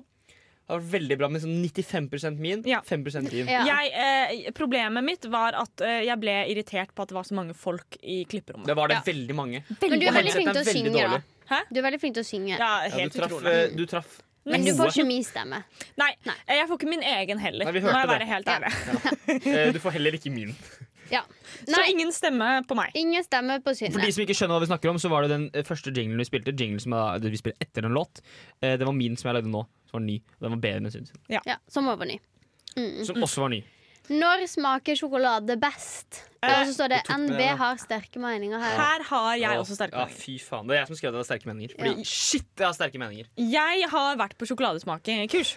C: har vært veldig bra med sånn 95 min,
A: Ja.
C: 5 din.
D: Ja.
A: Jeg, eh, problemet mitt var at eh, jeg ble irritert på at det var så mange folk i klipperommet.
C: Det var det
D: Ja.
C: veldig mange.
D: Men du
C: Og
D: er veldig
C: headset
D: flink
C: er
D: til å
C: veldig
D: synge,
C: dårlig.
D: da.
A: Hæ?
D: Du er veldig flink til å synge.
A: Ja,
C: Ja,
A: helt
C: du traff,
A: utrolig.
C: eh, du traff
D: Men du
C: noe.
D: får ikke min stemme.
A: Nei,
D: Nei.
A: eh, jeg får ikke min egen heller.
C: Nei, vi
A: Må
C: hørte
A: jeg
C: det.
A: være helt ærlig.
C: Eh, Du får heller ikke min.
D: Ja.
A: Så
D: Nei,
A: ingen stemme på meg.
D: ingen stemme på
C: For de
D: Synne.
C: som ikke skjønner hva vi snakker om, så var det den eh, første jinglen vi spilte. Jinglen som er- vi spiller etter en låt. Eh, Den var min som jeg lagde nå. Som var ny. og Den var bedre enn jeg synes.
D: Ja, som overny. Mm.
C: Som også var ny.
D: Når smaker sjokolade best?
A: Eh,
D: Og så står det
C: tok med
D: NB
C: det, da.
D: har sterke meninger her.
A: Her har jeg
C: Å,
A: også sterke
C: ja,
A: meninger.
C: Fy faen, det er jeg som skrev det. det var sterke meninger. Fordi
D: Ja.
C: shit, jeg har sterke meninger.
A: Jeg har vært på sjokoladesmakingkurs.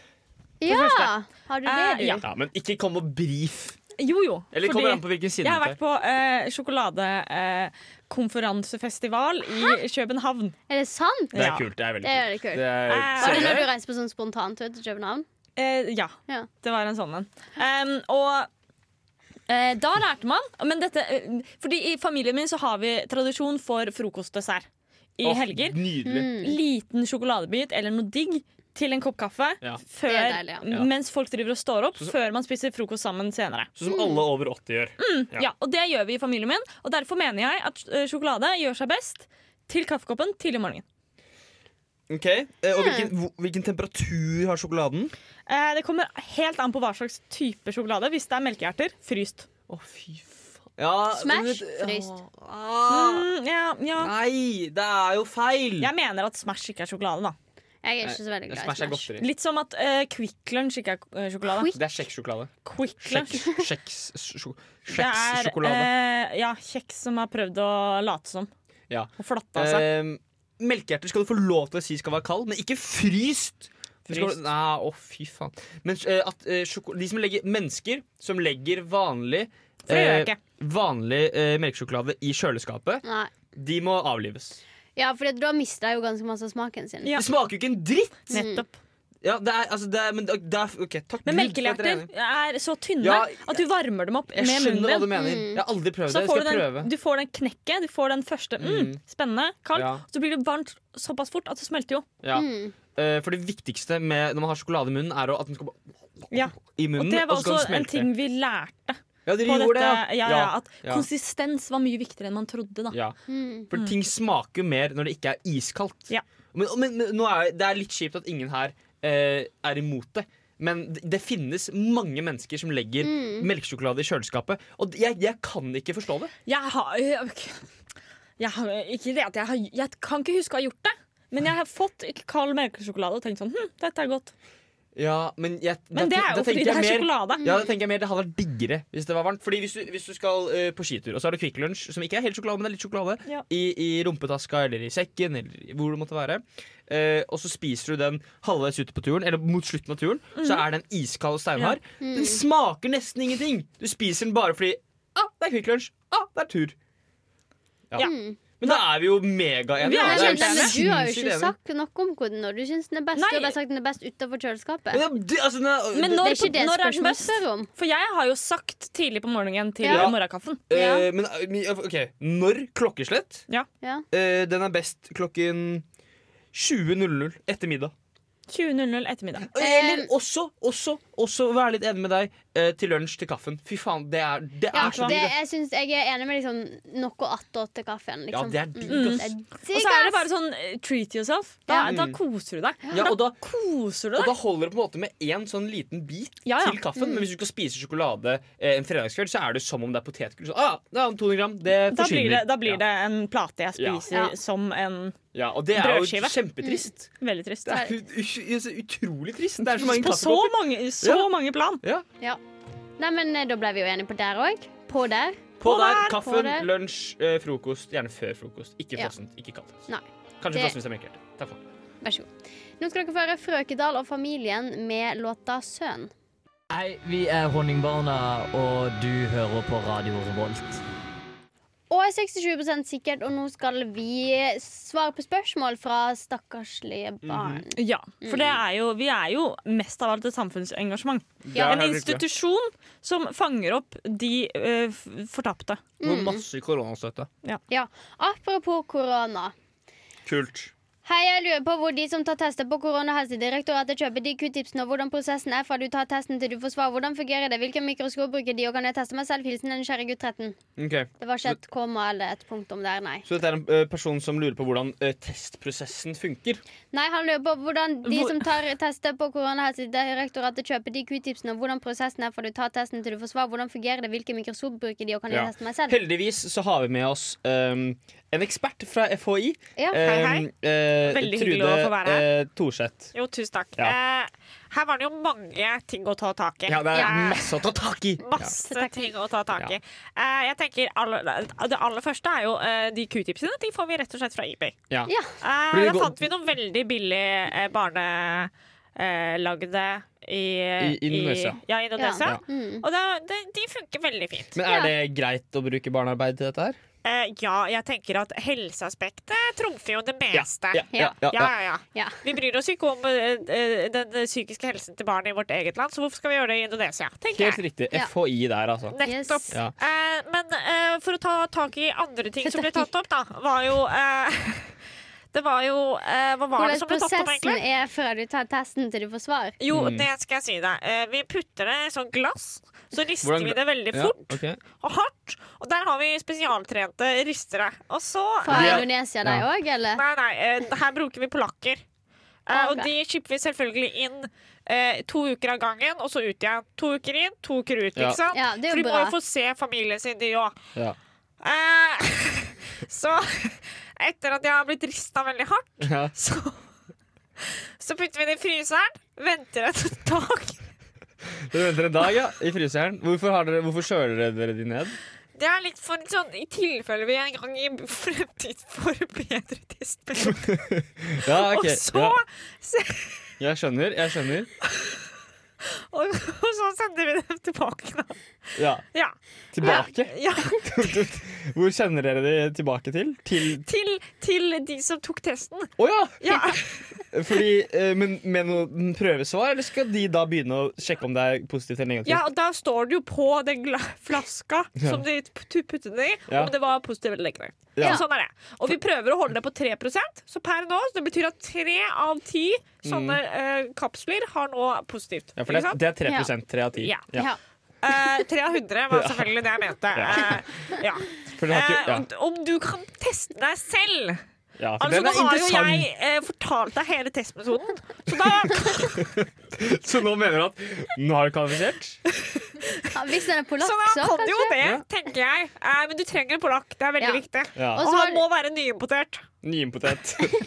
D: Ja! Har du det,
A: Eh,
D: du?
A: ja.
C: Ja, Men ikke kom og brif.
A: Jo, jo.
C: Eller
A: fordi-
C: kommer an på hvilken side
A: Jeg har
C: du tar.
A: vært på eh, sjokoladekonferansefestival i København.
D: Er det sant?
C: Det er
A: Ja.
C: kult. Det er veldig
D: Det er veldig
C: kult.
D: kult.
C: er
A: Eh,
D: Var det
A: Ser
D: når du reiste på sånn spontantur til København?
A: Eh, ja,
D: Ja.
A: det var en sånn en. Em, og eh, da lærte man men dette, eh, Fordi i familien min så har vi tradisjon for frokostdessert i
C: Åh,
A: helger. Mm.
C: Nydelig.
D: Mm.
A: Liten sjokoladebit eller noe digg til en kopp kaffe.
C: Ja.
A: Før,
D: Det er deilig, ja.
A: m- Mens folk driver og står opp, før man spiser frokost sammen senere.
C: Sånn som alle over 80 gjør. Ja.
A: Ja, Og det gjør vi i familien min, og derfor mener jeg at eh, sjokolade gjør seg best til kaffekoppen tidlig om morgenen.
C: Ok, eh, Og hvilken, hvor- hvilken temperatur har sjokoladen?
A: Eh, Det kommer helt an på hva slags type sjokolade. Hvis det er melkehjerter, fryst.
C: Å, fy faen. Ja,
D: Smash,
C: men det-
D: fryst.
C: Ah,
A: Mm, ja, ja.
C: nei, det er jo feil!
A: Jeg mener at Smash ikke er sjokolade. da
D: Jeg er ikke så veldig glad i
C: Smash er
D: Smash.
C: Eh, godteri.
A: Litt som at eh, Quick Lunch ikke er eh, sjokolade.
D: Quick?
C: Det er kjekksjokolade.
A: Quick Lunch Det er
C: Kjekssjokolade.
A: eh, ja, kjeks som har prøvd å late som.
C: Ja. Eh,
A: Og flotta seg.
C: Ehm, melkehjerter skal du få lov til å si skal være kald, men ikke fryst! Det skal-
A: Fryst.
C: Nei, å, fy faen. Men, eh, at, eh, sjoko- de som legger, mennesker som legger vanlig
A: For det gjør jeg
C: eh,
A: ikke.
C: Vanlig eh, melkesjokolade i kjøleskapet,
D: Nei.
C: de må avlives.
D: Ja, for da mista jeg jo ganske masse av smaken sin.
A: Ja.
C: Det smaker jo ikke en dritt!
A: Nettopp.
C: Ja, det er, altså, det er, men det er, ok, takk Gud for at
A: Men
C: dere er
A: melkehjerter
C: enige.
A: er så tynne
C: Ja,
A: at du varmer dem opp
C: Jeg
A: med
C: skjønner hva du
A: munnen din.
C: mener. Jeg har aldri prøvd
A: Så
C: det. Jeg
A: får
C: skal
A: du,
C: prøve.
A: den, du får den knekket. Du får den første mm, spennende, kaldt.
C: Ja.
A: Så blir det varmt såpass fort at det smelter jo.
C: Ja.
D: Mm,
C: Eh, for det viktigste med, når man har sjokolade i munnen, er å- at den skal bare
A: Ja.
C: i
A: Og
C: munnen,
A: det var
C: og så skal den
A: også en
C: smelte.
A: ting vi lærte
C: ja, dere
A: på
C: gjorde
A: dette.
C: det, ja.
A: Ja, ja, at
C: ja.
A: konsistens var mye viktigere enn man trodde. da
C: ja.
D: mm,
C: For ting smaker jo mer når det ikke er iskaldt.
A: Ja.
C: Men, men, men nå er, det er litt kjipt at ingen her eh, er imot det. Men det, det finnes mange mennesker som legger
D: Mm.
C: melkesjokolade i kjøleskapet. Og jeg, jeg kan ikke forstå det.
A: Jeg har øh, ok. jeg har, Ikke det at jeg har Jeg kan ikke huske å ha gjort det. Men jeg har fått ikke kald melkesjokolade og tenkt sånn hm, dette er godt.
C: Ja, men jeg,
A: Men det er jo fordi det er sjokolade.
C: Ja, det tenker jeg mer, det hadde vært diggere hvis det var varmt. Fordi Hvis du, hvis du skal eh, på skitur, og så har du Kvikk Lunsj, som ikke er helt sjokolade, men det er litt sjokolade,
A: Ja.
C: i, i rumpetaska eller i sekken eller i hvor det måtte være, eh, og så spiser du den halvveis ute på turen, eller mot slutten av turen, så er den iskald og steinhard. Den smaker nesten ingenting! Du spiser den bare fordi ah, det er Kvikk Lunsj, ah, det er tur. Ja.
A: Ja.
D: mm.
C: Men da er vi jo megaenige.
A: Vi er
C: da. Det
D: Men
C: jo
A: helt
D: men du har jo
C: sinnssykt
D: ikke
C: enige.
D: sagt noe om hvordan når du syns den er best.
A: Nei.
D: Du har bare sagt den er best utenfor kjøleskapet.
C: Men det- altså, den er-
A: Men
C: det-
A: når,
D: Det er ikke det
A: når er den
D: spørsmålet
A: best?
D: spør om.
A: For jeg har jo sagt tidlig på morgenen til
D: Ja.
A: morgenkaffen.
D: Ja.
C: eh, men, eh, men, ok, når klokkeslett?
D: Ja.
C: Eh, den er best klokken 20.00 etter middag.
A: 20.00 ettermiddag.
D: Eh,
C: Eller også, også, også være litt enig med deg, eh, til lunsj til kaffen. Fy faen, det er, det
D: Ja,
C: er så
D: det,
C: digg. det.
D: jeg, synes, jeg er enig med liksom, noe attåt til kaffen.
C: Ja,
D: Liksom.
C: det er digg, ass.
A: Og så er det bare sånn eh, treat yourself. Da, da koser du deg.
C: Ja, og da,
A: Koser du
C: og
A: deg?
C: da holder det på en måte med én sånn liten bit
A: Ja, ja.
C: til kaffen.
D: Mm.
C: Men hvis du skal spise sjokolade eh, en fredagskveld, så er det som om det er potetgull. Så, Ah, det er 200 gram, det
A: Da blir, det,
C: forsvinner.
A: da blir det en plate jeg
C: Ja.
A: spiser
D: Ja.
A: som en
C: Ja, ja, og det er jo
A: brødskive.
C: kjempetrist.
A: Veldig trist.
C: Det
D: Mm.
C: er ut- ut- ut- utrolig trist. Det er så mange
A: På så
C: kaffekopper.
A: mange, så
C: Ja.
A: mange plan.
C: Ja.
D: Nei, men eh, Da ble vi jo enige på der òg. På der.
C: På
A: På
C: der,
D: på
A: der,
C: kaffen,
D: der.
C: lunsj, eh, frokost. Gjerne før frokost. Ikke
D: Ja.
C: frossent, ikke kaldt.
D: Nei.
C: Kanskje
D: Det-
C: frossen hvis det er melkehjerte. Takk for meg.
D: Vær så god. Nå skal dere få høre Frøkedal og familien med låta 'Sønn'.
F: Hei, vi er Honningbarna, og du hører på Radio Revolt.
D: Og er 67 sikkert, og nå skal vi svare på spørsmål fra stakkarslige barn.
A: Ja, for det
G: Mm.
A: er jo, vi er jo mest av alt et samfunnsengasjement.
C: Ja,
A: en
C: helt riktig.
A: institusjon som fanger opp de eh, f- fortapte.
C: Med masse koronastøtte.
D: Ja, Apropos korona.
C: Kult.
D: Hei, jeg lurer på hvor de som tar tester på koronahelsedirektoratet, kjøper de q-tipsene, og hvordan prosessen er fra du tar testen til du får svar. Hvordan fungerer det? Hvilke mikroskop bruker de, og kan jeg teste meg selv? Hilsen en nysgjerrig gutt 13.
C: Ok.
D: Det var ikke et komma eller et punktum der, nei.
C: Så dette er en eh, person som lurer på hvordan eh, testprosessen funker.
D: Nei, han lurer på hvordan de
A: Hvor-
D: som tar tester på koronahelsedirektoratet, kjøper de q-tipsene, og hvordan prosessen er fra du tar testen til du får svar. Hvordan fungerer det? Hvilke mikroskop bruker de, og kan jeg
C: Ja.
D: teste meg selv?
C: Heldigvis så har vi med oss ehm, en ekspert fra FHI.
D: Ja,
A: hei, hei.
C: Ehm, eh,
A: Veldig
C: Trude,
A: hyggelig å få være her.
C: eh, Thorseth.
G: Jo, tusen takk.
C: Ja.
G: Eh, her var det jo mange ting å ta tak i.
C: Ja, det er
G: Eh,
C: masse å ta tak i!
G: Masse ting å ta tak i. Eh, jeg tenker aller, Det aller første er jo eh, de q-tipsene. De får vi rett og slett fra eBay.
C: Ja.
D: Ja.
G: Eh,
C: Blir det
G: da
C: godt-
G: fant vi noen veldig billige eh, barnelagde i,
C: I Indonesia.
G: I, ja, Indonesia.
D: Ja. Mm.
G: Og da, de, de funker veldig fint.
C: Men er det greit å bruke barnearbeid til dette her?
G: Eh, ja, jeg tenker at helseaspektet trumfer jo det meste.
C: Ja, ja, ja,
G: ja, ja, ja.
D: Ja.
G: Vi bryr oss ikke om eh, eh, den psykiske helsen til barn i vårt eget land, så hvorfor skal vi gjøre det i Indonesia? tenker
C: Helt
G: jeg.
C: riktig.
D: Ja.
C: FHI der, altså.
G: Nettopp.
D: Yes.
C: Ja.
G: Eh, men eh, for å ta tak i andre ting som ble tatt opp, da, var jo eh, Det var jo eh, Hva var det
D: Hvordan
G: som ble tatt opp,
D: prosessen
G: egentlig?
D: er fra du tar testen til du får svar?
G: Jo, det skal jeg si deg. Eh, vi putter det i sånn glass, så rister
C: Hvordan-
G: vi det veldig
C: Ja,
G: fort
C: ok.
G: og hardt. Og der har vi spesialtrente ristere. Og så
D: Fra
C: Ja.
D: Indonesia, de
C: Ja.
D: òg, eller?
G: Nei, nei, eh, her bruker vi polakker. Eh, Og
D: Ok.
G: de chipper vi selvfølgelig inn eh, to uker av gangen, og så ut igjen. To uker inn, to uker ut,
C: Ja.
G: ikke sant?
D: Ja, det er
G: For de
D: jo
G: må
D: bra.
G: jo få se familien sin, de òg.
C: Ja.
G: Eh, så etter at jeg har blitt rista veldig hardt,
C: Ja.
G: så, så putter vi det i fryseren, venter et dag.
C: Dere venter en dag, ja, i fryseren. Hvorfor, har dere, hvorfor kjøler dere de ned?
G: Det er litt for sånn i tilfelle vi en gang i fremtid får bedre tidsspill.
C: Ja, ok.
G: Og så
C: Ja, jeg skjønner. Jeg skjønner.
G: og, og så sender vi dem tilbake, da.
C: Ja.
G: Ja.
C: Tilbake?
G: Ja,
C: Hvor sender dere de tilbake til? Til
G: til, til de som tok testen.
C: Å ja!
G: Ja,
C: Fordi, eh, men med noe prøvesvar, eller skal de da begynne å sjekke om det er positivt eller negativt?
G: ja og da står det jo på den gla flaska som de p- t- puttet den i,
C: Ja.
G: om det var positivt eller negativt.
C: Ja.
G: Så Sånn er det. Og vi prøver å holde det på 3 så per nå så det betyr at tre av ti sånne eh, kapsler har nå positivt.
C: Mm. Ja, for det,
G: ikke sant?
C: det er 3 tre av ti.
G: Ja.
D: Ja.
G: Eh, Tre av 100 var selvfølgelig det jeg mente. Eh, ja.
C: For den, har
G: Eh,
C: ikke,
G: om, om du kan teste deg selv
C: ja. Ja, for
G: Altså,
C: den
G: Nå
C: er
G: har jo jeg
C: interessant.
G: eh, fortalt deg hele testmetoden, så da
C: Så nå mener du at nå har du kvalifisert?
D: Ja, Hvis den er polakk,
G: Så
D: så
G: da kan du jo
D: kanskje?
G: det,
C: Ja.
G: tenker jeg. Eh, men du trenger en polakk. Det er veldig
D: Ja.
G: viktig.
C: Ja.
G: Og
D: Og så
G: han
D: har-
G: må være nyimportert.
C: Nyimpotet.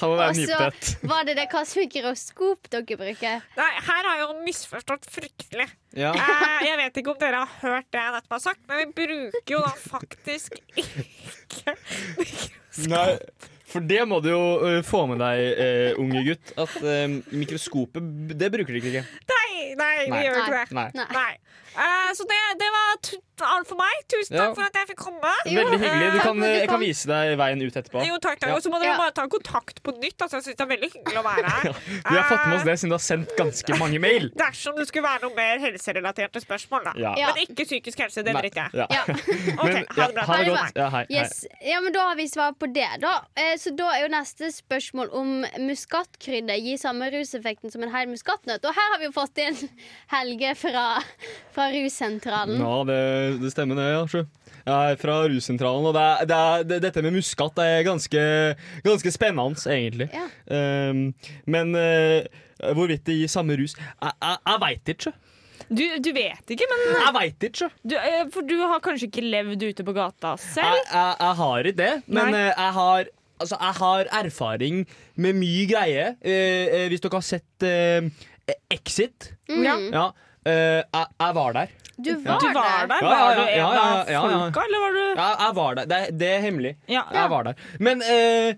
C: Han må være
D: Og
C: nyimpotet.
D: så var det det hva slags mikroskop dere bruker.
G: Nei, her har jeg jo misforstått fryktelig.
C: Ja.
G: Eh, jeg vet ikke om dere har hørt det jeg nettopp har sagt, men vi bruker jo da faktisk ikke
C: Nei, for det må du jo eh, få med deg, eh, unge gutt, at eh, mikroskopet, b- det bruker de ikke.
G: Nei, nei, vi
C: Nei.
G: gjør jo ikke det.
C: Nei.
D: Nei.
G: Nei. Eh, så det, det var tu- alt for meg. Tusen
C: Ja.
G: takk for at jeg fikk komme.
C: Veldig hyggelig. Du
D: takk
C: kan,
D: for at du
C: eh, jeg kan
D: kom.
C: vise deg veien ut etterpå.
G: Jo, takk, takk.
C: Ja.
G: Og så må dere
D: Ja.
G: bare ta kontakt på nytt. Altså, jeg synes det er veldig hyggelig å være her.
C: Vi har fått med oss det siden du har sendt ganske mange mail.
G: Dersom eh. det skulle være noe mer helserelaterte spørsmål, da.
C: Ja.
D: Ja.
G: Men ikke psykisk helse, det
C: Nei.
G: driter jeg i.
C: Ja.
D: Ja.
G: Ok, ha det
C: Men,
G: bra.
C: ja, ha det
D: Ha det
C: godt. Ja, hei, hei.
D: Yes. ja, men Da har vi svar på det. da eh, Så da er jo neste spørsmål om muskatkrydder gir samme ruseffekten som en hel muskatnøtt. Og her har vi jo fått inn Helge fra, fra russentralen.
C: Ja, det, det stemmer det. Ja. sjø. Jeg er fra russentralen, og det er, det er, det, dette med muskat er ganske, ganske spennende, egentlig.
D: Ja.
C: Ehm, men eh, hvorvidt det gir samme rus Jeg, jeg, jeg veit ikke. sjø.
A: Du, du vet ikke, men
C: Jeg veit ikke. sjø.
A: du, eh, for du har kanskje ikke levd ute på gata selv?
C: Jeg, jeg, jeg har ikke det, men
A: Nei.
C: eh, jeg har Altså, jeg har erfaring med mye greie. Eh, eh, hvis dere har sett eh, Exit
A: Ja.
D: Mm.
C: Ja, eh, jeg, jeg var der.
D: Du var,
A: Du var der?
C: Mm. Ja, ja,
A: Var du en
C: ja, ja, ja,
A: av
C: ja, ja.
A: folka, eller var du
C: Jeg, jeg var der. Det, det er hemmelig.
A: Ja.
C: Jeg var der. Men eh,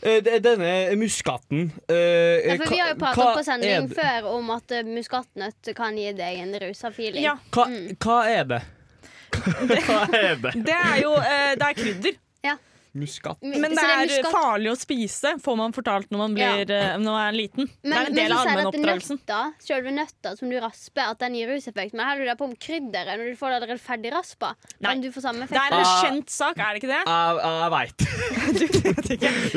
C: eh, de- denne muskaten eh,
D: Ja, for vi har jo
C: hva-
D: pratet
C: hva
D: på sending
C: er det-
D: før om at eh, muskatnøtt kan gi deg en rusa feeling.
A: Ja.
C: Hva,
D: Mm.
C: hva er det? Hva er det?
A: Det er jo eh, det er krydder.
C: Muskat.
D: Men,
A: Men
D: så
A: det er eh,
D: muskat-
A: farlig å spise, får man fortalt når man, blir, eh, når man er liten. det er en del
D: så sier de
A: av
D: at
A: allmennoppdragelsen.
D: Nøtta, selve nøtta som du rasper, at den gir ruseffekt. Men her er du der på om krydderet når du får det allerede ferdig raspa.
A: Nei.
D: Kan du få samme
A: Det
D: effekt?
A: er en
C: Ah.
A: kjent sak, er det ikke det?
C: Jeg, jeg veit. Jo,
D: For jeg vet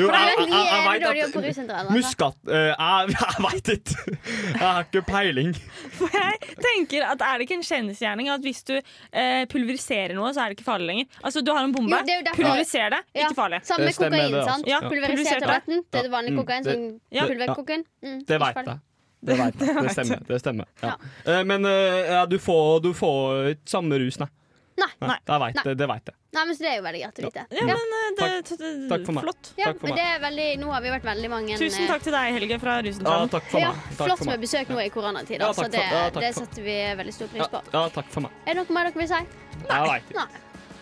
C: jeg
D: vi er
C: vet
D: dårlige på
C: at
D: russentralen. altså.
C: Muskat eh, Jeg, jeg veit ikke. Jeg har ikke peiling.
A: For jeg tenker at Er det ikke en kjendisgjerning at hvis du eh, pulveriserer noe, så er det ikke farlig lenger? Altså, Du har en bombe,
D: Jo, det er jo derfor-
A: pulveriser det,
D: Ja,
A: ikke farlig.
D: Samme
C: Det
D: med
C: stemmer
D: kokain,
C: det, altså.
D: sant?
A: Ja,
D: Pulverisert
A: pulverisert
D: tabletten til det vanlige
C: Mm,
D: kokain.
C: det-
D: Sånn
A: Ja.
D: pulverkokain. Mm,
C: Det
D: ikke
C: veit
D: farlig.
C: jeg. Det veit jeg. Det stemmer. Det stemmer. Ja. Eh, Men eh, ja, du får, du får ikke samme rus, nei.
D: Nei.
C: nei. Jeg vet
D: Nei.
C: det. Det veit jeg.
D: Nei, men så det er jo veldig greit å vite. Ja.
A: Ja, men eh, det,
C: Takk.
A: t- t-
C: Takk for meg.
A: Flott.
D: Ja,
C: Takk for
D: men
C: meg.
D: det er veldig, nå har vi vært veldig mange eh,
A: Tusen takk til deg, Helge, fra
C: Ja,
A: Rusentralen.
C: takk for
D: Ja,
C: meg. Takk
D: flott
C: for
D: med
C: meg.
D: besøk nå i koronatid,
C: Ja,
D: altså.
C: takk for-
D: det,
C: ja, takk
D: det
C: for-
D: setter vi veldig stor pris
C: Ja,
D: på.
C: ja, takk for meg.
D: Er det noe mer dere vil si?
C: Jeg veit det.
D: Nei.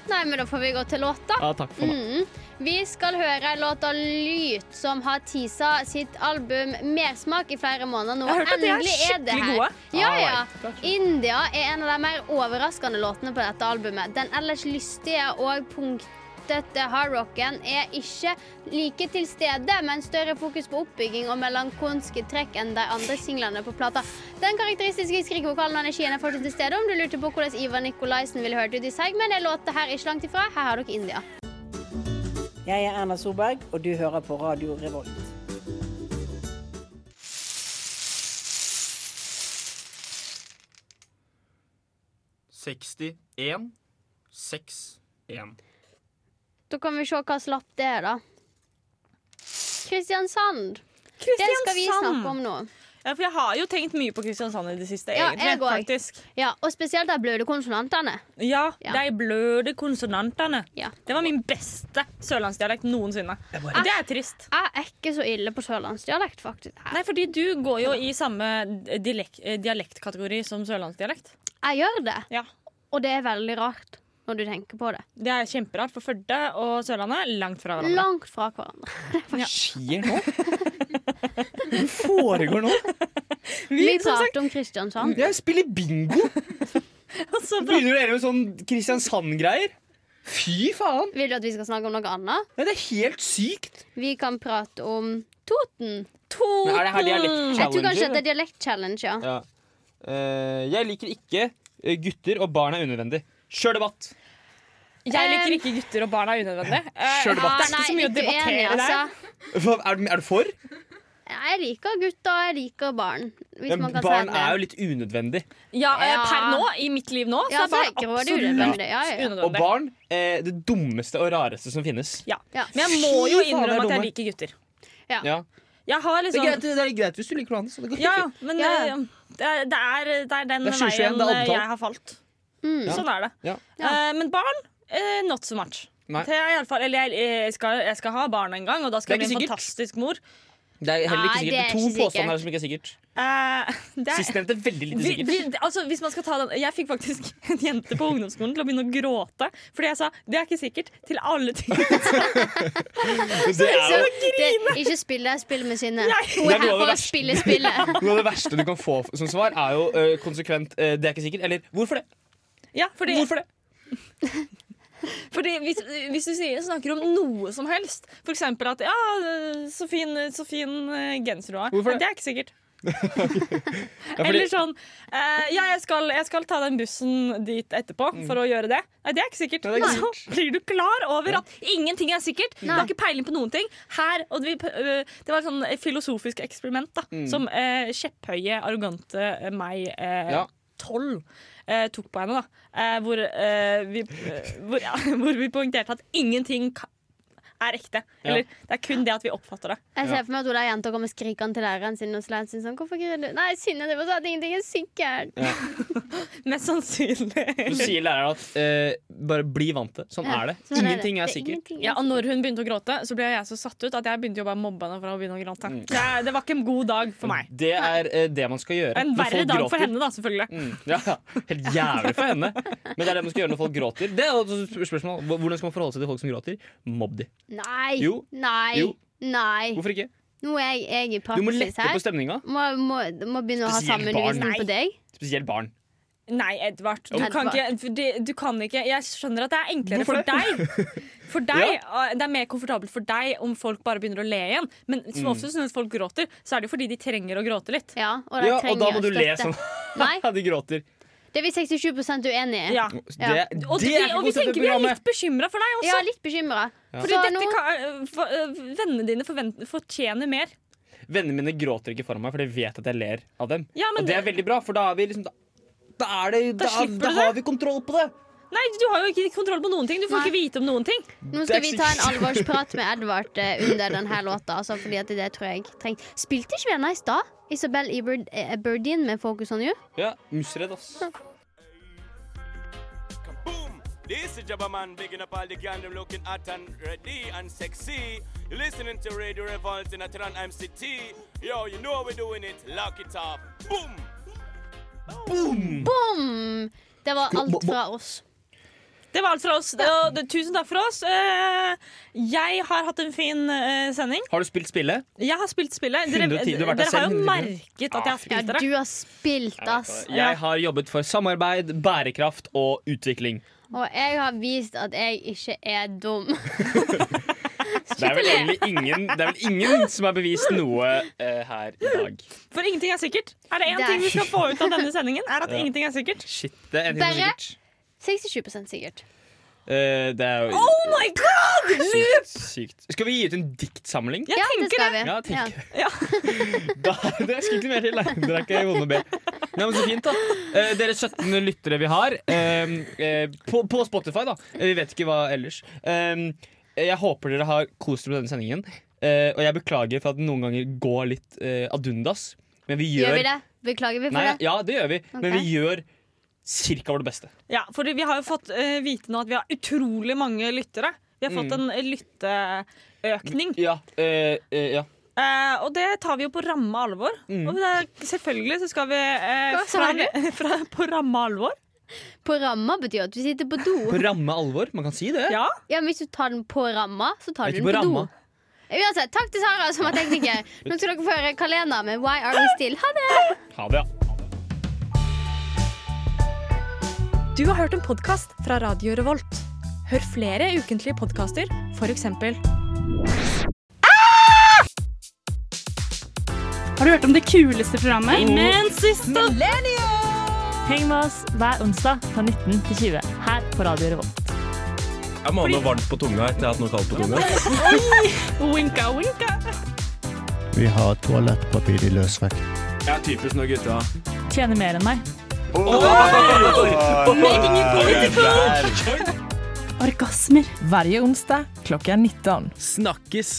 D: Nei, men da får vi gå til låt, da.
C: Ja, takk for meg.
D: Mm. Vi skal høre låta Lyt, som har teasa sitt album Mersmak i flere måneder nå.
A: Jeg har hørt at de er skikkelig gode.
D: Ja, ja. India er en av de mer overraskende låtene på dette albumet. Den ellers lystige og punktete hardrocken er ikke like til stede, men større fokus på oppbygging og melankolske trekk enn de andre singlene på plata. Den karakteristiske skrikevokalen og energien er fortsatt til stede. Om du lurte på hvordan Ivar Nikolaisen ville hørt ut i segmen, er låta her ikke langt ifra. Her har dere India.
G: Jeg er Erna Solberg, og du hører på Radio Revolt.
D: Da kan vi se hva slags lapp det er, da. Kristiansand. Det skal vi snakke om
A: Kristiansand!
D: nå.
A: Ja, for jeg har jo tenkt mye på Kristiansand i det siste,
D: Ja, jeg
A: egentlig.
D: går.
A: faktisk.
D: Ja, Og spesielt de bløde konsonantene.
A: Ja,
D: Ja.
A: de bløde konsonantene.
D: Ja.
A: Det var min beste sørlandsdialekt noensinne. Det er trist.
D: Jeg er ikke så ille på sørlandsdialekt, faktisk. Jeg,
A: Nei, fordi du går jo i samme dialek eh, dialektkategori som sørlandsdialekt.
D: jeg gjør det,
A: Ja.
D: og det er veldig rart når du tenker på det.
A: Det er kjemperart, for Førde og Sørlandet langt fra hverandre.
D: Langt fra hverandre.
C: Hva skjer nå? Hva foregår nå?
D: Vi prater om Kristiansand.
C: Jeg spiller bingo!
D: Altså,
A: Så bra.
C: Begynner dere med sånn Kristiansand-greier? Fy faen!
D: Vil du at vi skal snakke om noe annet?
C: Nei, det er helt sykt!
D: Vi kan prate om
C: Men
D: Toten.
C: er det her
D: Mm. Jeg tror kanskje
C: dialekt-challenger?
D: det er dialekt-challenge, ja.
C: Ja. Eh, jeg liker ikke eh, gutter, og barn er unødvendig. Kjør debatt!
A: Jeg liker ikke gutter og barn er unødvendig. Eh,
C: Kjør
A: Det
C: debatt.
A: er ikke så mye å debattere der.
C: Hva, Er, du- er du for?
D: altså. Jeg liker gutter, og jeg liker barn. Hvis
C: Men
D: man kan
C: barn
D: si
C: er
D: det.
C: jo litt unødvendig.
A: Ja, eh,
D: Ja.
A: Per nå, i mitt liv nå, så
D: Ja,
A: er
D: så
A: barn
D: tenker jeg det er
A: absolutt
D: unødvendig. Ja, ja, ja.
C: Og
A: unødvendig.
C: barn eh, det dummeste og rareste som finnes.
A: Ja.
D: Ja.
A: Men jeg må jo
C: Fy faen, det er
A: innrømme at jeg
C: dumme.
A: liker gutter.
C: Ja.
A: Jeg har
C: Det, er
A: liksom
C: greit, det er greit hvis du liker noe annet. så Det går
A: Ja, ja,
C: fint.
A: men
D: Ja, ja.
A: eh, Det, er, det, er, det er den
C: Det er 2021,
A: veien
C: det er
A: eh,
C: opptalt.
A: jeg har falt. Sånn er det.
C: Ja.
A: Eh, men barn, eh, not so much.
C: Nei.
A: Det er i alle fall, eller jeg, eh, skal, jeg skal ha barn en gang, og da skal
C: Det er
A: jeg bli en
C: ikke sikkert.
A: fantastisk mor.
C: Det er heller ikke
D: Nei, det
C: sikkert. Det
D: er
C: er to
D: ikke sikkert.
C: påstander her som ikke er sikkert.
A: Eh, det er-
C: Sistnevnte veldig lite
A: Vi-
C: sikkert.
A: vi- altså, hvis man skal ta den Jeg fikk faktisk en jente på ungdomsskolen til å begynne å gråte fordi jeg sa 'det er ikke sikkert' til alle ting.
C: Det er jo
D: Det, ikke spill det, spill med sinne. Hun
C: Det
D: er
C: er noe
D: her
C: av det
D: for å
C: verste.
D: spille spillet.
C: Noe av det verste du kan få som svar, er jo eh, konsekvent eh, 'det er ikke sikkert' eller 'hvorfor det'?
A: Ja, fordi,
C: Hvorfor det?
A: fordi hvis, hvis du sier, snakker om noe som helst, f.eks. at 'ja, så fin, så fin eh, genser du har',
C: Hvorfor det?
A: Men det er ikke sikkert.
C: Ja, fordi-
A: Eller sånn eh, Ja, jeg skal, jeg skal ta den bussen dit etterpå for å gjøre det. Nei, det er ikke sikkert.
C: Nei, Mm. det er ikke
A: Og Så blir du klar over at ingenting er sikkert. Du har ikke peiling på noen ting. Her, og vi, øh, det var et sånn filosofisk eksperiment da,
C: Mm.
A: som eh, kjepphøye, arrogante eh, meg eh,
C: Ja.
A: tolv eh, tok på henne. da eh, hvor, eh, vi, eh, hvor, ja, hvor vi poengterte at ingenting ka- er ekte. Eller det er kun det at vi oppfatter det.
D: Jeg ser for meg at hun der jenta kommer skrikende til læreren sin og slår sin sånn Hvorfor griner du? Nei, Synne, det var sånn at ingenting er sikkert.
A: Mest sannsynlig.
C: Så sier læreren at eh, bare bli vant til Sånn
D: Ja,
C: er det.
D: sånn
C: Ingenting er
D: Det
C: sikkert.
D: ingenting er
A: Ja, og når hun begynte å gråte, så ble jeg så satt ut at jeg begynte jo bare å mobbe henne for å begynne å gråte.
C: Mm.
A: Det, det var ikke en god dag for meg.
C: Det er eh, det man skal gjøre.
A: En
C: når
A: verre
C: folk
A: dag
C: gråter.
A: for henne, da, selvfølgelig.
C: Mm, ja, ja. Helt jævlig for henne. Men det er det man skal gjøre når folk gråter. Det er også et spør- spørsmål Hvordan skal man forholde seg til folk som gråter? Mobb de.
D: Nei.
C: Jo.
D: Nei.
C: Jo.
D: Nei.
C: Hvorfor ikke?
D: Nå er jeg, jeg i
C: Du må
D: praksis
C: lette
D: her.
C: på stemninga.
D: Må, må, må begynne å ha
C: Spesielt
D: sammenvisning
A: barn.
D: på deg.
C: Spesielt barn.
A: Nei, Edvard. Du
D: Edvard.
A: kan, ikke, for det- du kan ikke Jeg skjønner at det er enklere
C: Hvorfor
A: for
C: det?
A: deg. For deg ah, Det er mer komfortabelt for deg om folk bare begynner å le igjen. Men som oftest når folk gråter, så er det jo fordi de trenger å gråte litt.
D: Ja, og, de
C: Ja, og
D: trenger
C: da må du le
D: støtte.
C: sånn.
D: Nei,
C: Ja, de gråter.
D: det er vi 67 uenig i.
A: Ja.
C: Det,
A: Og,
C: det
A: vi,
C: er ikke
A: og vi
C: konseptet i
A: tenker vi er
C: programmet.
A: litt bekymra for deg også.
D: Jeg er litt bekymra.
A: Fordi dette kan, for, øh, vennene dine forvent, fortjener mer.
C: Vennene mine gråter ikke foran meg, for de vet at jeg ler av dem.
A: Ja, men
C: og det er veldig bra, for da er vi liksom Da, da, er det, da,
A: slipper
C: da
A: du
C: har vi kontroll på det!
A: Nei, Du har jo ikke kontroll på noen ting. Du får
D: Nei.
A: ikke vite om noen ting.
D: Nå skal vi ta en alvorsprat med Edvard eh, under denne låta. Altså, fordi at det tror jeg treng... Spilte ikke vi henne i stad? Isabel Eberd- eh, Eberdeen med Focus on you.
C: Ja, Musredd, ass.
H: Boom! This is Jabba Man bigging up all the gang them looking hot and ready and sexy. You're listening to Radio Revolt in Atran MCT. Yo, you know how we're doing it. Lock it up. Boom!
A: Mm,
D: Boom! Det var alt fra oss.
A: Det var alt fra oss. Og, det, tusen takk for oss. Eh, jeg har hatt en fin eh, sending.
C: Har du spilt spillet?
A: Jeg har spilt spillet.
C: 110, du har vært der
A: dere har
C: selv. Ah,
A: jo merket at jeg
D: Ja,
A: har spilt dere.
D: du har spilt, ass.
C: Jeg har jobbet for samarbeid, bærekraft og utvikling.
D: Og jeg har vist at jeg ikke er dum.
C: Det er vel egentlig ingen, det er vel ingen som har bevist noe eh, her i dag.
A: For ingenting er sikkert. Er det én
D: Det er-
A: ting vi skal få ut av denne sendingen, er at ingenting er sikkert.
C: Shit, det er en ting som
D: Bare-
C: er sikkert.
D: 67 sikkert.
C: Eh, det er jo
A: Oh my god!
C: sykt, sykt. Skal vi gi ut en diktsamling?
A: Jeg
D: Ja, det
A: tenker
D: skal
A: det.
D: vi.
C: Ja, tenker jeg.
A: Ja.
C: Da, det skulle ikke noe mer til. Nei. Dere er ikke vonde å be. Nei, men så fint, da. Eh, dere 17 lyttere vi har, eh, eh, på, på Spotify, da. Eh, Vi vet ikke hva ellers. Eh, jeg håper dere har kost dere med denne sendingen. Eh, og jeg beklager for at den noen ganger går litt eh, ad undas. Men vi gjør,
D: Gjør vi det? Beklager vi for
C: Nei,
D: det?
C: ja, det gjør vi.
D: Ok.
C: Men vi gjør cirka vårt beste.
A: Ja, for vi har jo fått eh, vite nå at vi har utrolig mange lyttere. Vi har fått
C: Mm.
A: en lytteøkning.
C: Ja, eh, eh, ja.
A: Eh, og det tar vi jo på ramme alvor.
C: Mm.
A: Og det er, selvfølgelig så skal vi eh,
D: Hva sa
A: fra,
D: du?
A: fra, På ramme alvor?
D: På ramma betyr jo at du sitter på do.
C: På ramme alvor. Man kan si det.
A: Ja.
D: Ja, men Hvis du tar den på ramma, så tar du
C: Ikke på
D: den på,
C: ramma.
D: do. Uansett, takk til Sara som var tekniker. Nå skal dere få høre Kalena med Why Are We Still. Ha det!
C: Ha det, ja.
G: Du har hørt en podkast fra Radio Revolt. Hør flere ukentlige podkaster, f.eks. Ah!
I: Har du hørt om det kuleste programmet?
G: Men siste
I: Heng med oss hver onsdag fra 19 til 20 her på Radio Revolt.
H: Jeg må ha noe varmt på tunga etter jeg har hatt noe kaldt på tunga.
I: Winka, winka.
J: Vi har toalettpapir i løsvekt.
H: Jeg er typisk når gutta
I: Tjener mer enn meg. Orgasmer.
J: Snakkes.